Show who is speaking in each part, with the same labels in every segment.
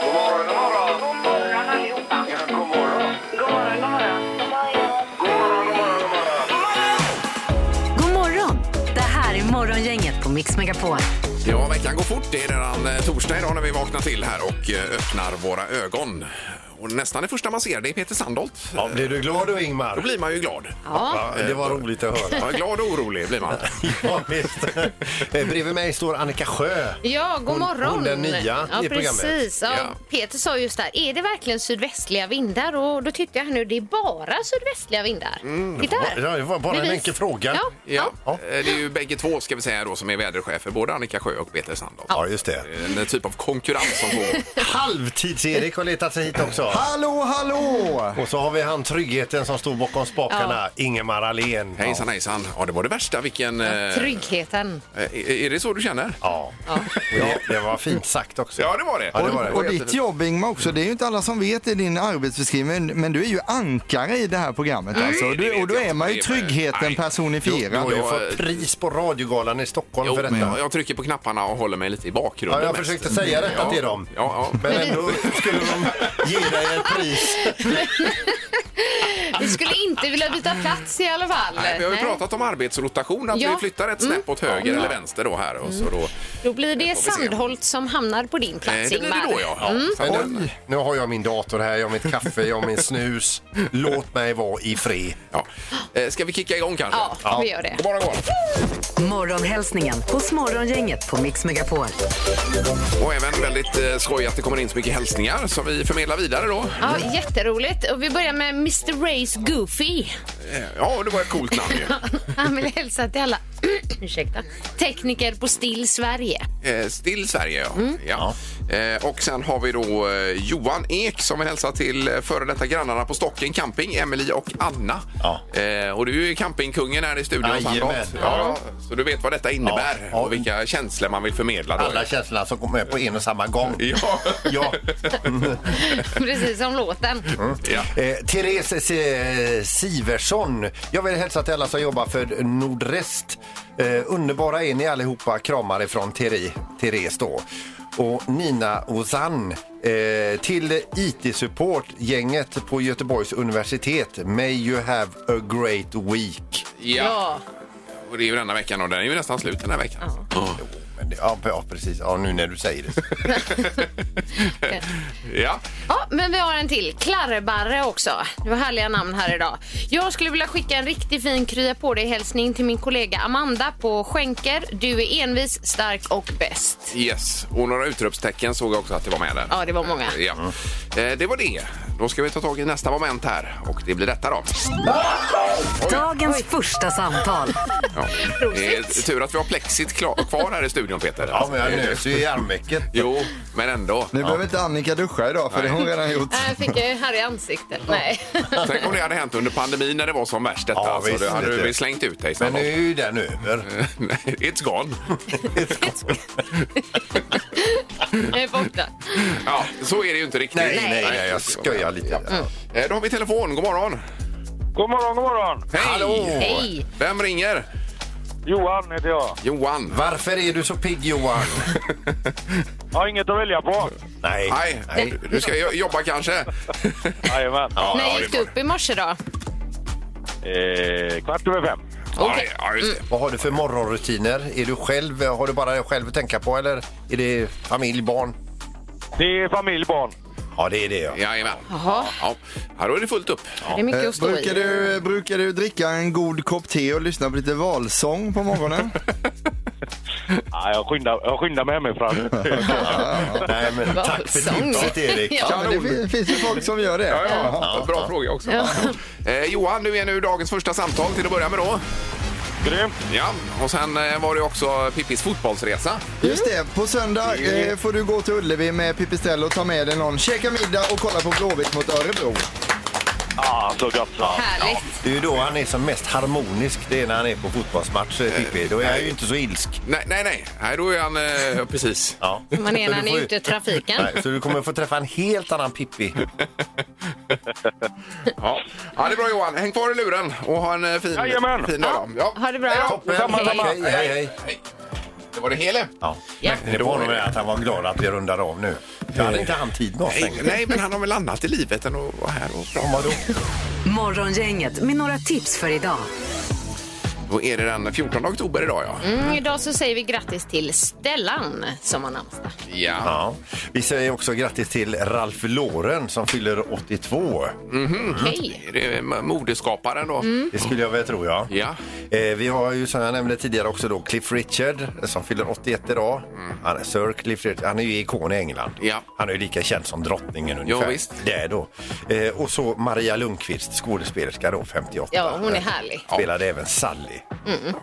Speaker 1: God morgon, god morgon. God morgon allihopa. Ja, god morgon. God morgon, god morgon. God morgon, god morgon, god morgon.
Speaker 2: God morgon! Det här är Morgongänget på Mix Megapol.
Speaker 3: Ja, veckan går fort. Det är redan eh, torsdag idag när vi vaknar till här och eh, öppnar våra ögon. Och nästan det första man ser det är Peter Sandholt.
Speaker 4: Ja, blir du glad då
Speaker 3: Då
Speaker 4: Ingmar?
Speaker 3: blir man ju glad.
Speaker 2: Ja,
Speaker 4: Ja, det var roligt att höra.
Speaker 3: Ja, glad och orolig blir man.
Speaker 4: Ja, visst. Eh, Bredvid mig står Annika Sjö.
Speaker 5: Ja, god
Speaker 4: Hon-
Speaker 5: morgon.
Speaker 4: hon den nya
Speaker 5: ja,
Speaker 4: i programmet.
Speaker 5: precis. Ja,
Speaker 3: Ja.
Speaker 5: Peter sa just där, är det verkligen sydvästliga vindar? Och då tyckte jag här nu, det är bara sydvästliga vindar. Titta här.
Speaker 4: Ja, det var bara en
Speaker 5: Bevis.
Speaker 4: enkel fråga.
Speaker 5: Ja.
Speaker 3: Ja,
Speaker 4: Ja.
Speaker 3: eh, det är ju bägge två ska vi säga då som är väderchefer, både Annika Sjö och Peter Sandholt.
Speaker 4: Ja, just det.
Speaker 3: En typ av konkurrens som pågår.
Speaker 4: Halvtids-Erik har letat sig hit också.
Speaker 6: Hallå, hallå!
Speaker 4: Och så har vi han tryggheten som stod bakom spakarna, Ingemar Ahlén.
Speaker 3: Hejsan hejsan. Ja, det var det värsta. Vilken... eh,
Speaker 5: Tryggheten.
Speaker 3: eh, Är det så du känner?
Speaker 4: Ja,
Speaker 5: Ja.
Speaker 4: Och det, det var fint sagt också.
Speaker 3: Ja, det var det.
Speaker 4: Ja, det var det.
Speaker 6: Och ditt jobb Ingmar också, det är ju inte alla som vet i din arbetsbeskrivning, men du är ju ankare i det här programmet alltså.
Speaker 3: Nej, Mm. det
Speaker 6: Du, och då
Speaker 3: vet jag
Speaker 6: är man ju
Speaker 3: inte. Det är-
Speaker 6: tryggheten
Speaker 3: nej.
Speaker 4: Du har
Speaker 6: personifierad.
Speaker 3: Ja,
Speaker 4: ju
Speaker 3: eh,
Speaker 4: fått pris på Radiogalan i Stockholm
Speaker 3: Jo,
Speaker 4: för
Speaker 3: men jag,
Speaker 4: detta.
Speaker 3: jag trycker på knapparna och håller mig lite i bakgrunden.
Speaker 4: Ja, jag
Speaker 3: mest.
Speaker 4: försökte säga detta till dem.
Speaker 3: Ja, ja.
Speaker 4: Men ändå skulle de ge dig ett pris.
Speaker 5: Vi skulle inte vilja byta plats i alla fall.
Speaker 3: Nej, vi har ju
Speaker 5: Nej.
Speaker 3: pratat om arbetsrotation, att
Speaker 5: Ja. Mm.
Speaker 3: vi flyttar ett snäpp åt höger eller vänster då här. Och så då,
Speaker 5: Då blir det
Speaker 3: får vi se.
Speaker 5: Sandholt som hamnar på din plats,
Speaker 3: eh, det blir
Speaker 5: Ingmar. Mm.
Speaker 3: det då ja. ja. Så
Speaker 4: Men
Speaker 3: den-
Speaker 4: nu, nu har jag min dator här, jag har mitt kaffe, jag har min snus. Låt mig vara i fred.
Speaker 3: ja. Eh, Ska vi kicka igång kanske?
Speaker 5: Ja, vi gör det.
Speaker 3: God morgon, god morgon.
Speaker 2: Morgonhälsningen hos Morgongänget på Mix Megapol.
Speaker 3: Och även väldigt eh, skoj att det kommer in så mycket hälsningar som vi förmedlar vidare då.
Speaker 5: Ja, jätteroligt. Och vi börjar med Mr. Rays Goofy.
Speaker 3: Eh, Ja, det var ett coolt namn ju.
Speaker 5: Han vill hälsa till alla ursäkta, tekniker på Still Sverige.
Speaker 3: Eh, Still Sverige ja.
Speaker 5: Mm.
Speaker 3: ja. Eh, Och sen har vi då eh, Johan Ek som vill hälsa till eh, före detta grannarna på Stocken Camping, Emily och Anna.
Speaker 4: Ja.
Speaker 3: Eh, Och du är ju campingkungen här i studion.
Speaker 4: Jajamän.
Speaker 3: Sandholt. Ja, så du vet vad detta innebär
Speaker 4: Ja.
Speaker 3: och vilka känslor man vill förmedla. Då.
Speaker 4: Alla känslorna som kommer på en och samma gång.
Speaker 3: Ja.
Speaker 4: Ja.
Speaker 5: Precis som låten.
Speaker 3: ja.
Speaker 4: Eh, Therese eh, Siversson. Jag vill hälsa till alla som jobbar för Nordrest. Eh, underbara är ni allihopa. Kramar ifrån Theri, Therese då. Och Nina Ozan. Eh, till IT-support-gänget på Göteborgs universitet. May you have a great week.
Speaker 3: ja.
Speaker 5: Ja.
Speaker 3: Och det är ju denna veckan och den är ju nästan slut den här veckan. Ja,
Speaker 4: Men det- Ja, ja, precis. Ja, nu när du säger det. så.
Speaker 3: ja.
Speaker 5: Ja, men vi har en till. Klarrebarre också. Det var härliga namn här idag. Jag skulle vilja skicka en riktigt fin krya på dig-hälsning till min kollega Amanda på Skänker. Du är envis, stark och bäst.
Speaker 3: yes. Och några utropstecken såg jag också att det var med där.
Speaker 5: Ja, det var många.
Speaker 3: Ja. Eh, Det var det. Då ska vi ta tag i nästa moment här och det blir detta då.
Speaker 2: Dagens första samtal.
Speaker 3: Ja. Det är tur att vi har plexit kla- kvar här i studion Peter.
Speaker 4: Ja, men jag nös ju i armvecket.
Speaker 3: Jo, men ändå.
Speaker 6: Nu behöver inte Annika duscha idag för det har hon redan gjort.
Speaker 5: Nej, Äh, jag fick ju här i ansiktet. Nej.
Speaker 3: Tänk om det hade hänt under pandemin när det var som värst detta.
Speaker 4: Ja,
Speaker 3: alltså,
Speaker 4: visst,
Speaker 3: då hade
Speaker 4: vet
Speaker 3: du
Speaker 4: du.
Speaker 3: väl slängt ut dig.
Speaker 4: Men
Speaker 3: Sandholt.
Speaker 4: nu är ju den över.
Speaker 3: Nej, It's gone.
Speaker 5: Jag är borta.
Speaker 3: Ja, så är det ju inte riktigt.
Speaker 4: Nej, nej, nej, Mm. jag skojar lite.
Speaker 3: Eh, Då har vi telefon. God morgon.
Speaker 7: God morgon, god morgon.
Speaker 3: Hej!
Speaker 5: Hej.
Speaker 3: Vem ringer?
Speaker 7: Johan heter jag.
Speaker 3: Johan.
Speaker 4: Varför är du så pigg, Johan?
Speaker 7: Jag har inget att välja på.
Speaker 4: Nej.
Speaker 3: Nej, du- du ska jo- jobba kanske?
Speaker 7: Jajamän.
Speaker 5: När gick du upp i morse då?
Speaker 7: Eh, kvart över fem.
Speaker 3: Okej. Ja, just det.
Speaker 4: Vad har du för morgonrutiner? Är du själv, har du bara dig själv att tänka på eller är det familj, barn?
Speaker 7: Det är familj, barn.
Speaker 4: Ja, det är det. Ja.
Speaker 3: Jajamän.
Speaker 5: Jaha.
Speaker 3: Ja, här är det fullt upp.
Speaker 5: Det är mycket
Speaker 6: Eh,
Speaker 5: att stå
Speaker 6: brukar,
Speaker 5: i.
Speaker 6: du, brukar du dricka en god kopp te och lyssna på lite valsång på morgonen?
Speaker 7: Ja, jag, skyndar, jag skyndar mig hemifrån.
Speaker 4: Nej, men
Speaker 5: Vad
Speaker 4: tack för
Speaker 5: sång.
Speaker 4: tipset, Erik.
Speaker 5: Ja.
Speaker 6: Ja, men det fin- finns ju folk som gör det.
Speaker 3: Ja, ja. Bra fråga också. Eh, Johan, du är nu dagens första samtal till att börja med då.
Speaker 7: Grymt.
Speaker 3: Ja, och sen eh, var det också Pippis fotbollsresa.
Speaker 6: Just det, på söndag eh, får du gå till Ullevi med Pipistrello och ta med dig någon, käka middag och kolla på Blåvitt mot Örebro.
Speaker 7: Ja, så gött. Ja.
Speaker 5: Härligt.
Speaker 4: Det är ju då han är som mest harmonisk, det är när han är på fotbollsmatch, eh, Pippi. Då är han ju inte så ilsk.
Speaker 3: Nej, nej, nej. Här då är han... Eh, precis.
Speaker 4: Ja.
Speaker 5: Man är
Speaker 4: Så
Speaker 5: när han
Speaker 4: du
Speaker 5: är
Speaker 4: får ju-
Speaker 5: ute i trafiken.
Speaker 4: Nej, så du kommer få träffa en helt annan Pippi.
Speaker 3: Ja. ja, det är bra Johan. Häng kvar i luren och ha en eh, fin,
Speaker 7: Jajamän.
Speaker 3: fin dag. då. Ja.
Speaker 5: Ha det bra.
Speaker 3: Hej då.
Speaker 4: Toppen.
Speaker 5: Samma,
Speaker 4: Tack,
Speaker 5: samma.
Speaker 4: Hej, hej, hej.
Speaker 3: Hej. Det var det hela?
Speaker 4: Ja.
Speaker 5: Ja.
Speaker 4: Men det var nog med att han var glad att vi rundar av nu. Då hade inte han tid med oss
Speaker 3: Nej,
Speaker 4: längre.
Speaker 3: nej, men han har väl annat i livet än att vara här och prata.
Speaker 4: Vadå?
Speaker 2: Morgongänget med några tips för idag.
Speaker 3: Då är det den 14 oktober idag, ja.
Speaker 5: Mm, idag så säger vi grattis till Stellan som har namnsdag.
Speaker 3: Ja.
Speaker 4: Ja. Vi säger också grattis till Ralf Loren som fyller 82. Mm.
Speaker 5: Hej!
Speaker 3: Är det modeskaparen då?
Speaker 5: Mm.
Speaker 4: Det skulle jag väl tro, ja.
Speaker 3: Ja.
Speaker 4: Eh, vi har ju som jag nämnde tidigare också då Cliff Richard som fyller 81 idag. Han är Sir Cliff Richard. Han är ju ikon i England.
Speaker 3: Mm. Ja.
Speaker 4: Han är ju lika känd som drottningen ungefär.
Speaker 3: visst.
Speaker 4: Det är då. Eh, och så Maria Lundqvist, skådespelerska då, 58.
Speaker 5: Ja, hon är härlig.
Speaker 4: Spelade även Sally.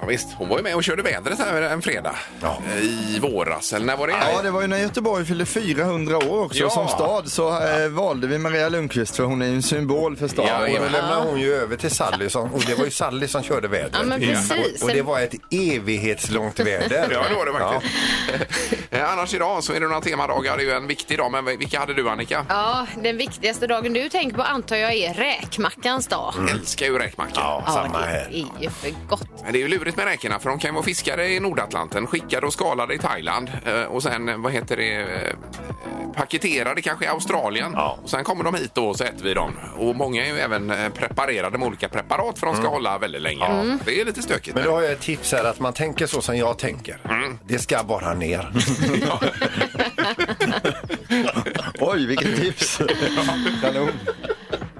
Speaker 3: ja, visst. Hon var ju med och körde vädret här en fredag Eh,
Speaker 4: Ja.
Speaker 3: i våras. Eller när var det?
Speaker 6: Ja, det var ju när Göteborg fyllde 400 år också
Speaker 3: Ja.
Speaker 6: som stad så eh, valde vi Maria Lundqvist för hon är ju en symbol för
Speaker 3: Ja,
Speaker 6: staden.
Speaker 4: Och då
Speaker 3: jajamän.
Speaker 4: lämnade hon ju över till Sally som, och det var ju Sally som körde vädret.
Speaker 5: Ja, men precis.
Speaker 4: Och, och det var ett evighetslångt väder.
Speaker 3: Ja, det var det verkligen. Eh, Annars idag så är det några temadagar. Det är ju en viktig dag. Men vilka hade du, Annika?
Speaker 5: Ja, den viktigaste dagen du tänker på antar jag är räkmackans dag.
Speaker 3: Jag Älskar ju räkmackor.
Speaker 4: Ja, ja, samma här.
Speaker 5: det är ju för gott.
Speaker 3: Men det är ju lurigt med räkorna för de kan ju vara fiskare i Nordatlanten, skickade och skalade i Thailand eh, och sen, vad heter det, eh, paketerade kanske i Australien.
Speaker 4: Ja.
Speaker 3: Och sen kommer de hit då och så äter vi dem. Och många är ju även eh, preparerade med olika preparat för de ska hålla väldigt länge. Det är lite stökigt.
Speaker 4: Mm. Men då har jag ett tips här att man tänker så som jag tänker.
Speaker 3: Mm.
Speaker 4: Det ska bara ner.
Speaker 6: Oj, vilket tips! Kanon.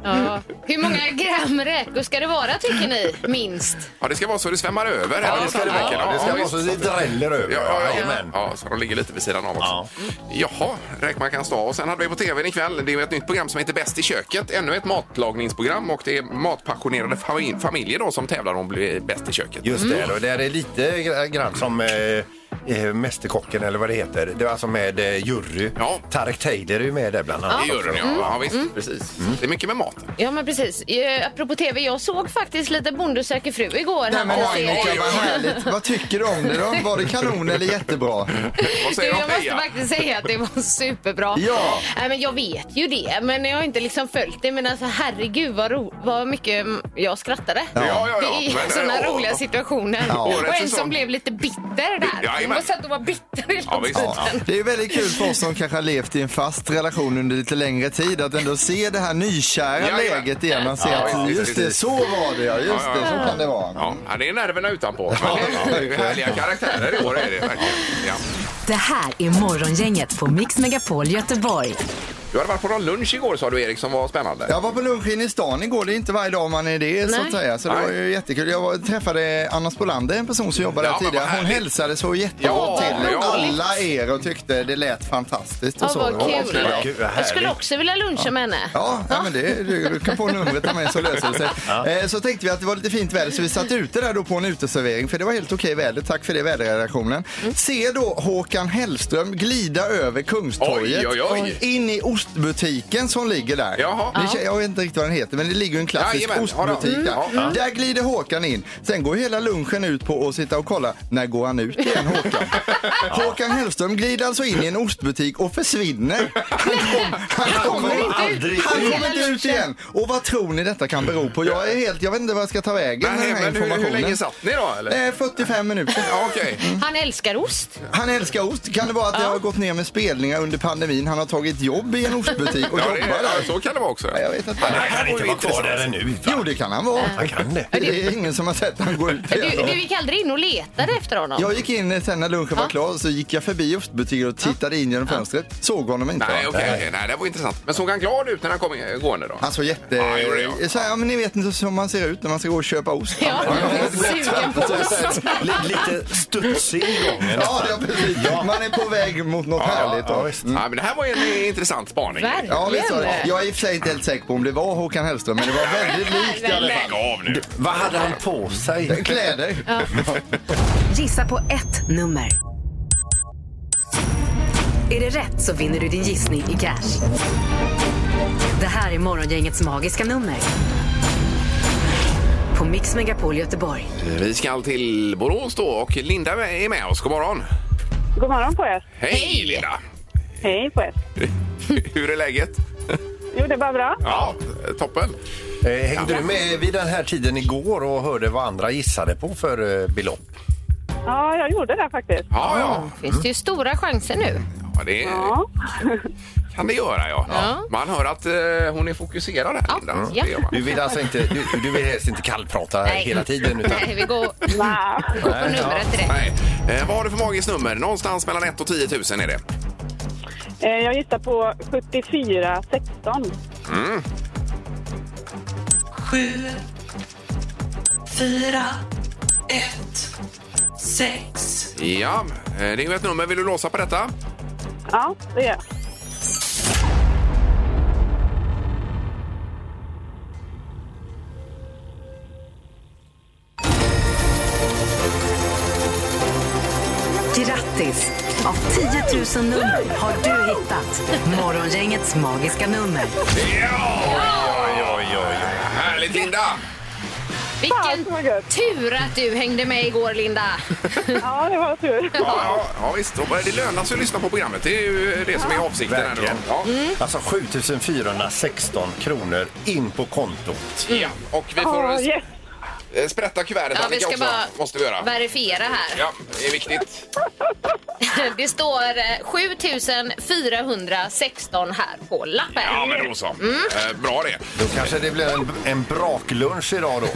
Speaker 5: Ja. Hur många gram räkor ska det vara tycker ni, minst?
Speaker 3: Ja, det ska vara så det svämmar över. Ja,
Speaker 4: det ska det verkligen. Det ska vara så det dräller över.
Speaker 3: Ja, ja, ja.
Speaker 4: Jajamän.
Speaker 3: ja, så de ligger lite vid sidan av också. Jaha, räkmackans dag. Och sen hade vi på tvn ikväll, det är ju ett nytt program som heter Bäst i köket. Ännu ett matlagningsprogram och det är matpassionerade fami- familjer då som tävlar om att bli bäst i köket.
Speaker 4: Just det, och det här är lite gr- grann som eh, eh, Mästerkocken eller vad det heter. Det var alltså med eh, jury.
Speaker 3: Ja.
Speaker 4: Tarek Taylor är ju med där bland annat.
Speaker 3: Det gör den, ja. Mm. ja visst, precis. Det är mycket med maten.
Speaker 5: Ja, men precis. Eh, Apropå tv, jag såg faktiskt lite Bonde söker fru igår.
Speaker 6: Nej, men
Speaker 5: Hans
Speaker 6: Annika,
Speaker 5: serie.
Speaker 6: vad härligt. Vad tycker du om det då? Var det kanon eller jättebra?
Speaker 3: Vad
Speaker 5: Du,
Speaker 3: säger
Speaker 5: jag
Speaker 3: de
Speaker 5: måste
Speaker 3: Peja?
Speaker 5: faktiskt säga att det var superbra.
Speaker 6: Ja.
Speaker 5: Nej, men jag vet ju det, men jag har inte liksom följt det. Men alltså, herregud vad, ro- vad mycket mm, jag skrattade.
Speaker 3: Ja, ja, ja.
Speaker 5: Det är
Speaker 3: Men,
Speaker 5: sådana
Speaker 3: ja.
Speaker 5: roliga situationer.
Speaker 6: Ja.
Speaker 5: Och
Speaker 3: Årets
Speaker 5: en
Speaker 3: säsong.
Speaker 5: som blev lite bitter
Speaker 3: Ja,
Speaker 5: där. Hon
Speaker 3: jajamän.
Speaker 5: var satt och var bitter hela
Speaker 3: Ja, visst.
Speaker 5: tiden.
Speaker 3: Ja.
Speaker 6: Det är ju väldigt kul för oss som kanske har levt i en fast relation under lite längre tid att ändå se det här nykära
Speaker 3: Ja, ja.
Speaker 6: läget igen. Man ser
Speaker 3: Ja,
Speaker 6: att
Speaker 3: visst,
Speaker 6: just det,
Speaker 3: visst.
Speaker 6: så var det ja. Just
Speaker 3: Ja,
Speaker 6: det,
Speaker 3: ja,
Speaker 6: så kan det vara.
Speaker 3: Ja, ja, det är nerverna utanpå. Men det är ju härliga karaktärer i år är det verkligen. Ja.
Speaker 2: Det här är Morgongänget på Mix Megapol Göteborg.
Speaker 3: Du hade varit på någon lunch igår sa du Erik som var spännande.
Speaker 6: Jag var på lunch inne i stan igår, det är inte varje dag man är det så
Speaker 5: Nej.
Speaker 6: att säga. Så det
Speaker 3: Nej.
Speaker 6: var ju jättekul. Jag var, träffade Anna Spolander, en person som jobbade
Speaker 3: Ja,
Speaker 6: här
Speaker 3: men vad
Speaker 6: tidigare. Hon
Speaker 3: härligt.
Speaker 6: hälsade så jättebra
Speaker 3: Ja,
Speaker 6: till
Speaker 3: ja.
Speaker 6: alla er och tyckte det lät fantastiskt. Och
Speaker 5: Ja,
Speaker 6: så.
Speaker 5: vad
Speaker 6: Det var
Speaker 5: kul.
Speaker 6: avslöjande.
Speaker 4: Vad kul, vad
Speaker 5: Jag skulle
Speaker 4: härligt.
Speaker 5: också vilja luncha med henne.
Speaker 6: Ja, ja men det, du, du kan få numret av mig så löser det sig. Eh, så tänkte vi att det var lite fint väder så vi satt ute där då på en uteservering för det var helt okej väder. Tack för det väderredaktionen. Se då Håkan Hellström glida över Kungstorget
Speaker 3: Oj, oj, oj.
Speaker 6: in i ostbutiken som ligger där.
Speaker 3: Jaha.
Speaker 6: Ni känner- jag vet inte riktigt vad den heter men det ligger ju en klassisk
Speaker 3: Jajamän, ja då.
Speaker 6: ostbutik
Speaker 3: Mm.
Speaker 6: där.
Speaker 3: Ja, ja.
Speaker 6: Där glider Håkan in. Sen går hela lunchen ut på att sitta och kolla när går han ut igen Håkan. Håkan Hellström glider alltså in i en ostbutik och försvinner. Han kom- Han kommer
Speaker 5: kommer inte ut.
Speaker 4: Aldrig.
Speaker 6: han
Speaker 5: Hela
Speaker 6: kommer inte ut
Speaker 5: lunchen.
Speaker 6: igen. Och vad tror ni detta kan bero på? Jag är helt, jag vet inte vad jag ska ta vägen med
Speaker 3: Nej,
Speaker 6: den här
Speaker 3: men hur,
Speaker 6: informationen.
Speaker 3: hur länge satt ni då eller?
Speaker 6: Eh, 45 minuter.
Speaker 3: Ja, okej.
Speaker 5: Han älskar ost.
Speaker 6: Han älskar ost. Kan det vara att det har gått ner med spelningar under pandemin? Han har tagit jobb i en ostbutik och
Speaker 3: Ja, det,
Speaker 6: jobbar
Speaker 3: ja,
Speaker 6: där.
Speaker 3: så kan det vara också.
Speaker 6: Ja, Jag vet inte.
Speaker 4: Han kan inte vara kvar där ännu. va?
Speaker 6: Jo, det kan han vara.
Speaker 4: Han kan det.
Speaker 6: Det är ingen som har sett han gå ut
Speaker 5: Du,
Speaker 6: igen.
Speaker 5: du gick aldrig in och letade efter honom?
Speaker 6: Jag gick in sen när lunchen var klar så gick jag förbi ostbutiken och tittade in genom fönstret. Såg honom inte.
Speaker 3: Nej, okej, okej. Nej, det var intressant. Men såg han glad ut när han kom i- gående då?
Speaker 6: Han såg jätte...
Speaker 3: Ja, jo, det gör jag.
Speaker 6: så här, ja, men ni vet inte hur man ser ut när man ska gå och köpa ost.
Speaker 5: Ja, jag är sugen på ost.
Speaker 4: Li- Lite studsig i gången.
Speaker 6: Ja, ja, precis. Man är på väg mot något härligt.
Speaker 4: ja,
Speaker 6: då. Mm.
Speaker 4: visst.
Speaker 3: Ja, men det här var ju en intressant spaning.
Speaker 5: Verkligen.
Speaker 6: Ja, visst var det. Jag är i och för sig inte helt säker på om det var Håkan Hellström, men det var väldigt likt i alla
Speaker 3: Lägg
Speaker 6: fall.
Speaker 3: av nu!
Speaker 4: Vad hade han på sig?
Speaker 6: Kläder.
Speaker 2: Gissa på ett nummer. Är det rätt så vinner du din gissning i cash. Det här är Morgongängets magiska nummer. På Mix Megapol Göteborg.
Speaker 3: Vi ska till Borås då och Linda är med oss. God morgon!
Speaker 8: God morgon på er.
Speaker 3: Hej,
Speaker 5: Hej.
Speaker 3: Linda!
Speaker 8: Hej på er.
Speaker 3: Hur är läget?
Speaker 8: Jo, det är bara bra.
Speaker 3: Ja, toppen.
Speaker 4: Eh, Hängde du med vid den här tiden igår och hörde vad andra gissade på för eh, belopp?
Speaker 8: Ja, jag gjorde det faktiskt.
Speaker 3: Ja, ja.
Speaker 5: Finns det ju stora chanser nu.
Speaker 3: ja det
Speaker 8: Ja.
Speaker 3: kan det göra, ja.
Speaker 5: Ja.
Speaker 3: Man hör att eh, hon är fokuserad här,
Speaker 5: Ja,
Speaker 3: Linda.
Speaker 5: ja.
Speaker 3: Det gör man.
Speaker 4: Du vill alltså inte, du, du vill helst inte kallprata hela tiden? Utan,
Speaker 5: Nej, vi går
Speaker 8: Nej.
Speaker 5: går på numret direkt.
Speaker 3: Nej. Eh, vad har du för magiskt nummer? Någonstans mellan 1 och 10 000 är det.
Speaker 8: Eh, Jag gissar på 74 16.
Speaker 9: Sju, fyra, ett, sex.
Speaker 3: Ja, eh, det är ju ett nummer. Vill du låsa på detta?
Speaker 8: Ja, det gör jag.
Speaker 2: Grattis! Av 10 000 nummer har du hittat Morgongängets magiska nummer.
Speaker 3: Ja! Oj, oj, oj. Härligt, Linda!
Speaker 8: Fan, vad
Speaker 5: Vilken
Speaker 8: gött.
Speaker 5: tur att du hängde med igår, Linda.
Speaker 8: Ja, det var tur.
Speaker 3: Ja, ja, ja visst. Och Det lönar sig att lyssna på programmet. Det är ju det som är avsikten. Här nu.
Speaker 4: Verkligen.
Speaker 3: Ja.
Speaker 5: Mm.
Speaker 4: Alltså 7416 kronor in på kontot.
Speaker 3: ja, och vi får
Speaker 8: Ja, yes.
Speaker 3: eh, sprätta kuvertet,
Speaker 5: Ja, vi
Speaker 3: Annika,
Speaker 5: ska
Speaker 3: också.
Speaker 5: bara
Speaker 3: Måste vi göra.
Speaker 5: verifiera här.
Speaker 3: Ja, det är viktigt.
Speaker 5: Det står eh, 7416 här på lappen.
Speaker 3: Ja, men då så.
Speaker 5: Mm.
Speaker 3: Eh, bra det.
Speaker 4: Då kanske det blir en, en braklunch idag då.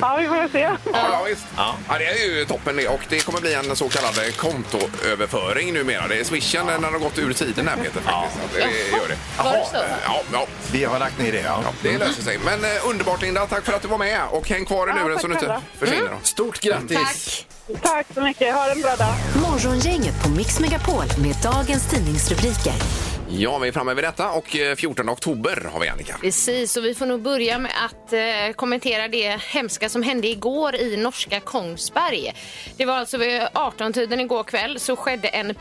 Speaker 8: Ja, vi får se.
Speaker 3: Ja, ja, visst. Ja. det är ju toppen det. Och det kommer bli en så kallad kontoöverföring numera. Det är swishen när den har gått ur tiden här Peter. Faktiskt. Att Det gör det.
Speaker 5: Var det så?
Speaker 3: Jaha, eh, Ja, ja.
Speaker 4: Vi har lagt ner det. Ja.
Speaker 3: Ja, det löser sig. Men eh, underbart Linda, tack för att du var med och häng kvar i
Speaker 8: Ja,
Speaker 3: luren
Speaker 8: tack
Speaker 3: så du inte
Speaker 8: själva.
Speaker 3: försvinner.
Speaker 5: Mm.
Speaker 4: Stort grattis!
Speaker 5: Tack.
Speaker 8: Tack så mycket. Ha en bra dag.
Speaker 2: Morgongänget på Mix Megapol med dagens tidningsrubriker.
Speaker 3: Ja, vi är framme vid detta och eh, 14 oktober har vi Annika.
Speaker 5: Precis, och vi får nog börja med att eh, kommentera det hemska som hände igår i norska Kongsberg. Det var alltså vid 18-tiden igår kväll så skedde en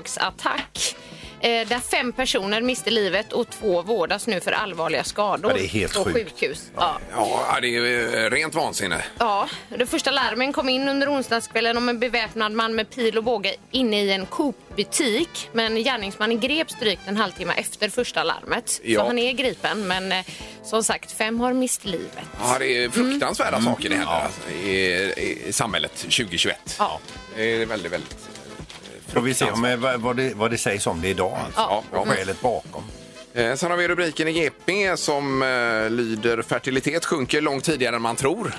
Speaker 5: pilbågsattack eh, där fem personer miste livet och två vårdas nu för allvarliga skador
Speaker 4: Ja, det är helt
Speaker 5: på
Speaker 4: sjukt.
Speaker 5: sjukhus. Ja.
Speaker 3: Ja, det är ju eh, rent vansinne.
Speaker 5: Ja, de första larmen kom in under onsdagskvällen om en beväpnad man med pil och båge inne i en Coop-butik. Men gärningsmannen greps drygt en halvtimme efter första larmet.
Speaker 3: Ja.
Speaker 5: Så han är gripen, men eh, som sagt, fem har mist livet.
Speaker 3: Ja, det är fruktansvärda saker det händer alltså, i, i samhället 2021.
Speaker 5: Ja.
Speaker 3: Det är väldigt, väldigt...
Speaker 4: Får vi se om, eh, vad, vad, det, vad det sägs om det idag. Alltså.
Speaker 3: Ja. Ja,
Speaker 4: Och skälet bakom.
Speaker 3: Eh, Sen har vi rubriken i GP som eh, lyder fertilitet sjunker långt tidigare än man tror.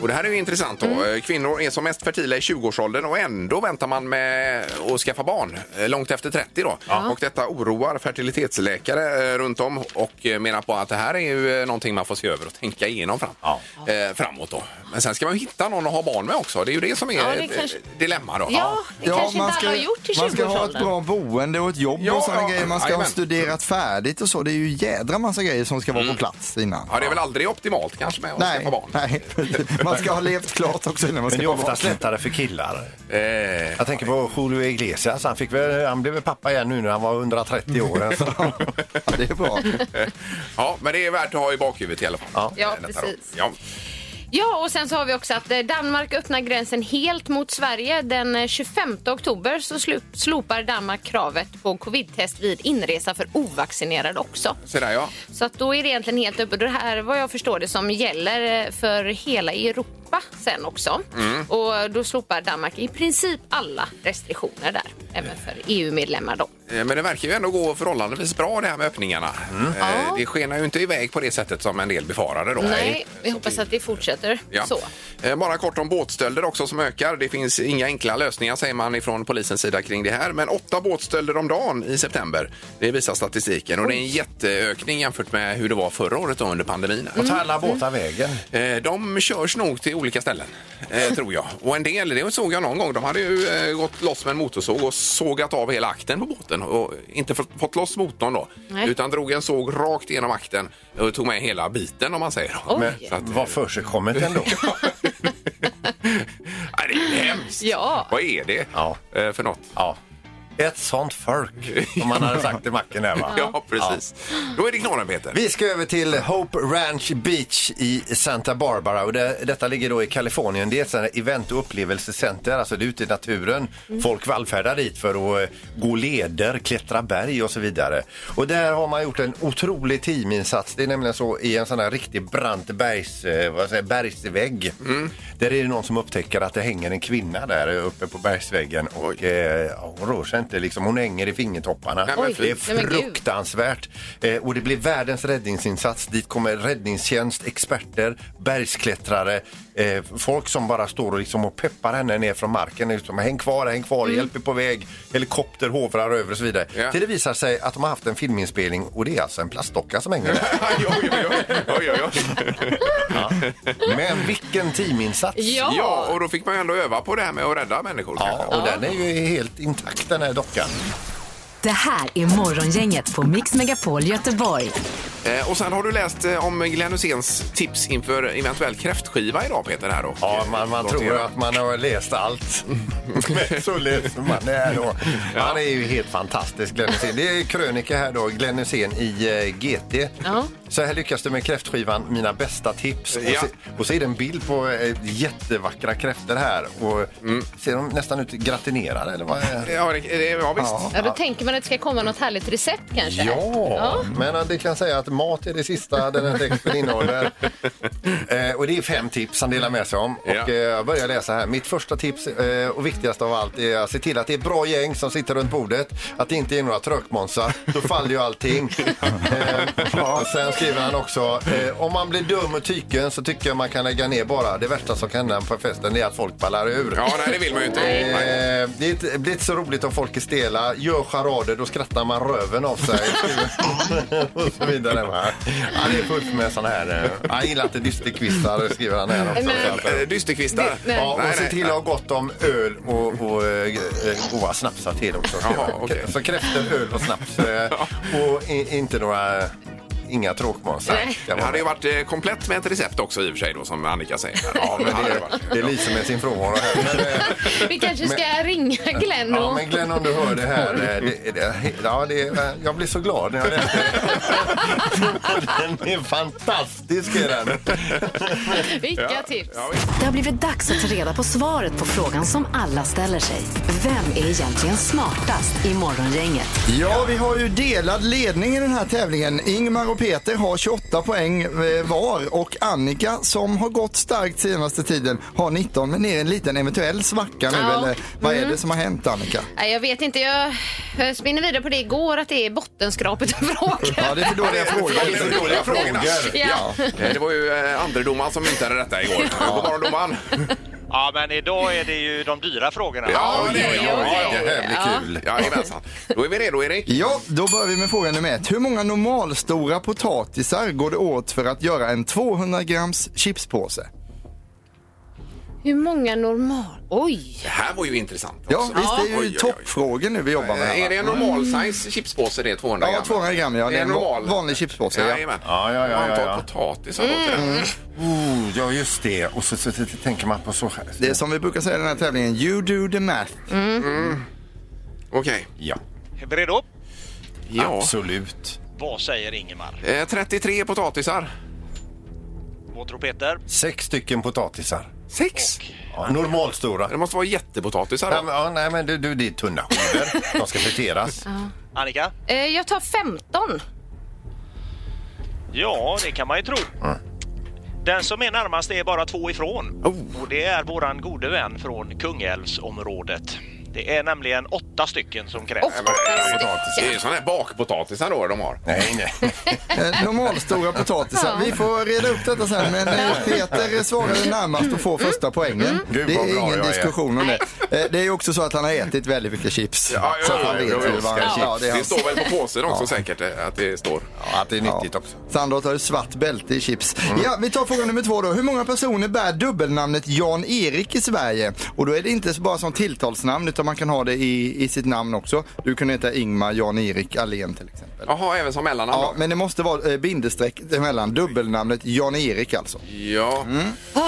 Speaker 3: Och det här är ju intressant då.
Speaker 5: Mm.
Speaker 3: Eh, Kvinnor är som mest fertila i 20-årsåldern och ändå väntar man med att skaffa barn eh, långt efter 30 då. Och detta oroar fertilitetsläkare eh, runt om och eh, menar på att det här är ju eh, någonting man får se över och tänka igenom fram,
Speaker 4: Ja.
Speaker 3: eh, framåt då. Men sen ska man ju hitta någon att ha barn med också. Det är ju det som är
Speaker 5: Ja, det
Speaker 3: eh,
Speaker 5: kanske-
Speaker 3: dilemma då.
Speaker 5: Ja, det kanske inte alla har gjort i
Speaker 6: man ska ha ett
Speaker 5: 20-årsåldern.
Speaker 6: bra boende och ett jobb
Speaker 3: Ja,
Speaker 6: och sådana
Speaker 3: ja,
Speaker 6: grejer. Man ska
Speaker 3: jajamän.
Speaker 6: ha studerat färdigt och så. Det är ju jädra massa grejer som ska vara
Speaker 3: Mm.
Speaker 6: på plats innan.
Speaker 3: Ja, det är väl aldrig optimalt kanske med att
Speaker 6: Nej,
Speaker 3: skaffa barn.
Speaker 6: nej, man ska ha levt klart också innan man
Speaker 4: Men
Speaker 6: ska
Speaker 4: det är
Speaker 6: få
Speaker 4: oftast
Speaker 6: barn.
Speaker 4: lättare för killar.
Speaker 3: Eh,
Speaker 4: Jag tänker på Julio Iglesias. Han, fick väl, han blev väl pappa igen nu när han var 130 år.
Speaker 6: Ja, det är bra.
Speaker 3: Ja, men det är värt att ha i bakhuvudet i alla fall.
Speaker 4: Ja.
Speaker 5: Ja,
Speaker 3: Detta då.
Speaker 5: precis.
Speaker 3: Ja.
Speaker 5: Ja, och sen så har vi också att eh, Danmark öppnar gränsen helt mot Sverige. Den eh, 25 oktober så slu- slopar Danmark kravet på covid-test vid inresa för ovaccinerade också.
Speaker 3: Så där ja.
Speaker 5: Så att då är det egentligen helt öppet. Det här vad jag förstår det som gäller eh, för hela Europa sen också. Och då slopar Danmark i princip alla restriktioner där. Även för EU-medlemmar då.
Speaker 3: Eh, Men det verkar ju ändå gå förhållandevis bra det här med öppningarna. Eh,
Speaker 5: Ja.
Speaker 3: Det skenar ju inte iväg på det sättet som en del befarade då.
Speaker 5: Nej, vi hoppas att det fortsätter
Speaker 3: Ja.
Speaker 5: så.
Speaker 3: Eh, Bara kort om båtstölder också som ökar. Det finns inga enkla lösningar säger man ifrån polisens sida kring det här. Men åtta båtstölder om dagen i september. Det visar statistiken och det är en jätteökning jämfört med hur det var förra året då under pandemin.
Speaker 5: Mm.
Speaker 4: Och tar alla båtar vägen?
Speaker 3: Eh, De körs nog till olika ställen, eh, tror jag. Och en del, det såg jag någon gång, de hade ju eh, gått loss med en motorsåg och sågat av hela akten på båten och inte fått fått loss motorn då,
Speaker 5: Nej.
Speaker 3: utan drog en såg rakt igenom akten och tog med hela biten om man säger.
Speaker 5: Oj.
Speaker 3: Men, så att,
Speaker 4: Vad försigkommet ändå.
Speaker 3: Nej, det är hemskt!
Speaker 5: Ja.
Speaker 3: Vad är det
Speaker 4: Ja.
Speaker 3: eh, för något?
Speaker 4: Ja. Ett sånt folk, som man hade sagt i macken här va?
Speaker 3: Ja, precis. Då är det knorren, Peter.
Speaker 4: Vi ska över till Hope Ranch Beach i Santa Barbara. Och det, detta ligger då i Kalifornien. Det är ett sånt här event och upplevelsecenter. Alltså det är ute i naturen. Folk vallfärdar dit för att eh, gå leder, klättra berg och så vidare. Och där har man gjort en otrolig teaminsats. Det är nämligen så i en sån här riktig brant bergs, eh, vad säger, jag, bergsvägg. Där är det någon som upptäcker att det hänger en kvinna där uppe på bergsväggen. Och eh, ja, hon rör sig inte liksom. Hon hänger i fingertopparna.
Speaker 3: Nej, men Oj,
Speaker 4: det är
Speaker 5: nej men gud.
Speaker 4: frukt fruktansvärt. Eh, och det blir världens räddningsinsats. Dit kommer räddningstjänst, experter, bergsklättrare, eh, folk som bara står och, liksom och peppar henne ner från marken. Liksom, häng kvar, häng kvar, hjälp är på väg, helikopter hovrar över och så vidare.
Speaker 3: Ja.
Speaker 4: Till det visar sig att de har haft en filminspelning och det är alltså en plastdocka som hänger där.
Speaker 3: Aj, oj, oj, oj, oj, oj, oj.
Speaker 4: Men vilken teaminsats!
Speaker 5: Ja.
Speaker 3: Ja, och då fick man ju ändå öva på det här med att rädda människor.
Speaker 4: Ja,
Speaker 3: kanske.
Speaker 4: och den är ju helt intakt den här dockan.
Speaker 2: Det här är Morgongänget på Mix Megapol Göteborg.
Speaker 3: Eh, och sen har du läst eh, om Glenn Hyséns tips inför eventuell kräftskiva idag, Peter. Här då.
Speaker 4: Ja, man, man tror att man har läst allt. Men så läser man det här då. Han är ju helt fantastisk, Glenn Hysén. Det är krönika här då, Glenn Hysén i eh, GT.
Speaker 5: Ja.
Speaker 4: Så här lyckas du med kräftskivan, mina bästa tips.
Speaker 3: Ja.
Speaker 4: Och, se, och så är det en bild på eh, jättevackra kräftor här. Och Ser de nästan ut gratinerade eller vad är det?
Speaker 3: Ja, det, det, ja visst.
Speaker 5: Ja, då tänker man att det ska komma något härligt recept kanske.
Speaker 4: Ja,
Speaker 5: Ja.
Speaker 4: men eh, det kan säga att mat är det sista den här texten innehåller. eh, och det är fem tips han delar med sig om. Och
Speaker 3: Ja.
Speaker 4: eh, jag börjar läsa här. Mitt första tips eh, och viktigast av allt är att se till att det är bra gäng som sitter runt bordet. Att det inte är några trökmånsar. Då faller ju allting. eh, ja, sen skriver han också. Eh, om man blir dum och tyken så tycker jag man kan lägga ner bara. Det värsta som kan hända på festen är att folk ballar ur.
Speaker 3: Ja, nej, det vill man ju inte. Nej.
Speaker 4: Eh, det är inte- det blir inte så roligt om folk är stela. Gör charader, då skrattar man röven av sig. och så vidare. Va? Ja, det är fullt med sådana här... eh, Jag gillar inte dysterkvistar, skriver han här också.
Speaker 5: Nej.
Speaker 4: Så att, eh,
Speaker 3: Eh, Dysterkvistar.
Speaker 5: Det- nej.
Speaker 4: Ja,
Speaker 3: Nej,
Speaker 4: och se
Speaker 3: nej.
Speaker 4: till att ha gott om öl och, och eh, eh, goda snapsar till också. skriver
Speaker 3: Jaha,
Speaker 4: han.
Speaker 3: okej.
Speaker 4: Så kräftor, öl och snaps. eh, Och i, inte några... eh, Inga tråkmånsar.
Speaker 5: Nej.
Speaker 3: Det
Speaker 4: ska vara
Speaker 3: hade ju
Speaker 4: med.
Speaker 3: varit eh, komplett med ett recept också i och för sig då, som Annika säger. Ja, men det hade varit.
Speaker 4: Det lyser med sin frånvaro här. Men, eh,
Speaker 5: Vi kanske ska ringa Glenn
Speaker 4: Ja,
Speaker 5: och...
Speaker 4: men Glenn, om du hör det här. eh, Det, det, ja, det, eh, jag blir så glad när jag läser det. Den är fantastisk, är den.
Speaker 5: Vilka tips!
Speaker 3: Ja,
Speaker 2: Det har blivit dags att ta reda på svaret på frågan som alla ställer sig. Vem är egentligen smartast i Morgongänget?
Speaker 6: Ja, vi har ju delad ledning i den här tävlingen. Ingmar och Peter har 28 poäng eh, var och Annika som har gått starkt senaste tiden har 19 men är en liten eventuell svacka nu
Speaker 5: Ja.
Speaker 6: eller vad är det som har hänt Annika?
Speaker 5: Nej, jag vet inte, jag jag spinner vidare på det igår att det är bottenskrapet av frågor.
Speaker 6: Ja, det är för dåliga frågor.
Speaker 3: Det är dåliga frågor.
Speaker 5: Ja.
Speaker 3: Eh, Det var ju eh, andredomaren som myntade detta igår. God morgon domaren.
Speaker 7: Ja, men idag är det ju de dyra frågorna.
Speaker 3: Ja, det är
Speaker 5: oj,
Speaker 3: ja,
Speaker 5: oj.
Speaker 3: ja,
Speaker 4: Det här blir kul.
Speaker 3: ja. Jajamensan. Då är vi redo, Erik.
Speaker 6: Ja, då börjar vi med fråga nummer ett. Hur många normalstora potatisar går det åt för att göra en 200 grams chipspåse?
Speaker 5: Hur många normal... Oj!
Speaker 3: Det här var ju intressant.
Speaker 6: Ja,
Speaker 3: också.
Speaker 6: visst, det är
Speaker 3: Oj, oj,
Speaker 6: ju
Speaker 3: oj.
Speaker 6: toppfrågor nu vi jobbar med.
Speaker 3: Eh, Är det
Speaker 6: här,
Speaker 3: en
Speaker 6: va?
Speaker 3: normal size chipspåse det, 200
Speaker 6: Ja, 200 gram, ja. Det är en
Speaker 3: normal.
Speaker 6: vanlig chipspåse, ja. Mm.
Speaker 3: Jajamän.
Speaker 4: Ja, ja, ja, ja,
Speaker 3: Antal
Speaker 4: ja.
Speaker 3: potatis har gått till den.
Speaker 4: Oh, ja, just det. Och så, så, så, så tänker man på så här.
Speaker 6: Det är som vi brukar säga i den här tävlingen, you do the math.
Speaker 3: Okej.
Speaker 4: Ja,
Speaker 7: Bered upp.
Speaker 3: Ja.
Speaker 4: absolut.
Speaker 7: Vad säger Ingemar?
Speaker 3: Eh, 33 potatisar.
Speaker 7: Vad tror Peter?
Speaker 4: Sex stycken potatisar.
Speaker 3: Sex.
Speaker 4: Ja, normalstora.
Speaker 3: Det måste vara jättepotatisar.
Speaker 4: Ja,
Speaker 3: då.
Speaker 4: men- ja, nej, men du, du, det är tunna skivor. De ska friteras.
Speaker 7: Annika?
Speaker 5: Eh, Jag tar 15.
Speaker 7: Ja, det kan man ju tro. Den som är närmast är bara två ifrån.
Speaker 3: Oh.
Speaker 7: Och det är våran gode vän från Kungälvsområdet. Det är nämligen åtta stycken som krävs.
Speaker 3: Oh. Det är ju såna här bakpotatisar då de har.
Speaker 4: Nej, nej.
Speaker 6: Eh, Normalstora potatisar. Vi får reda upp detta sen, men eh, Peter svarade närmast och får första poängen.
Speaker 4: Gud,
Speaker 6: Det
Speaker 4: vad
Speaker 6: är
Speaker 4: bra
Speaker 6: ingen
Speaker 4: jag är.
Speaker 6: diskussion om det. Eh, Det är ju också så att han har ätit väldigt mycket chips.
Speaker 3: Ja, ja,
Speaker 6: så att
Speaker 3: ja,
Speaker 6: han vet
Speaker 3: ja,
Speaker 6: ju
Speaker 3: ja,
Speaker 6: vad
Speaker 3: ja.
Speaker 6: han ja, det är
Speaker 3: Det
Speaker 6: hans-
Speaker 3: står väl på påsen också säkert eh, att det står.
Speaker 4: Ja, att det är nyttigt
Speaker 6: Ja.
Speaker 4: också. Mm.
Speaker 6: Sandholt har ju svart bälte i chips. Ja, vi tar fråga nummer två då. Hur många personer bär dubbelnamnet Jan-Erik i Sverige? Och då är det inte så bara som tilltalsnamn utan man kan ha det i, i sitt namn också. Du kunde heta Ingmar Jan-Erik Allén till exempel.
Speaker 3: Jaha, även som mellannamn
Speaker 6: Ja,
Speaker 3: då?
Speaker 6: men det måste vara eh, bindestreck emellan dubbelnamnet Jan-Erik alltså.
Speaker 3: Ja.
Speaker 5: Ah.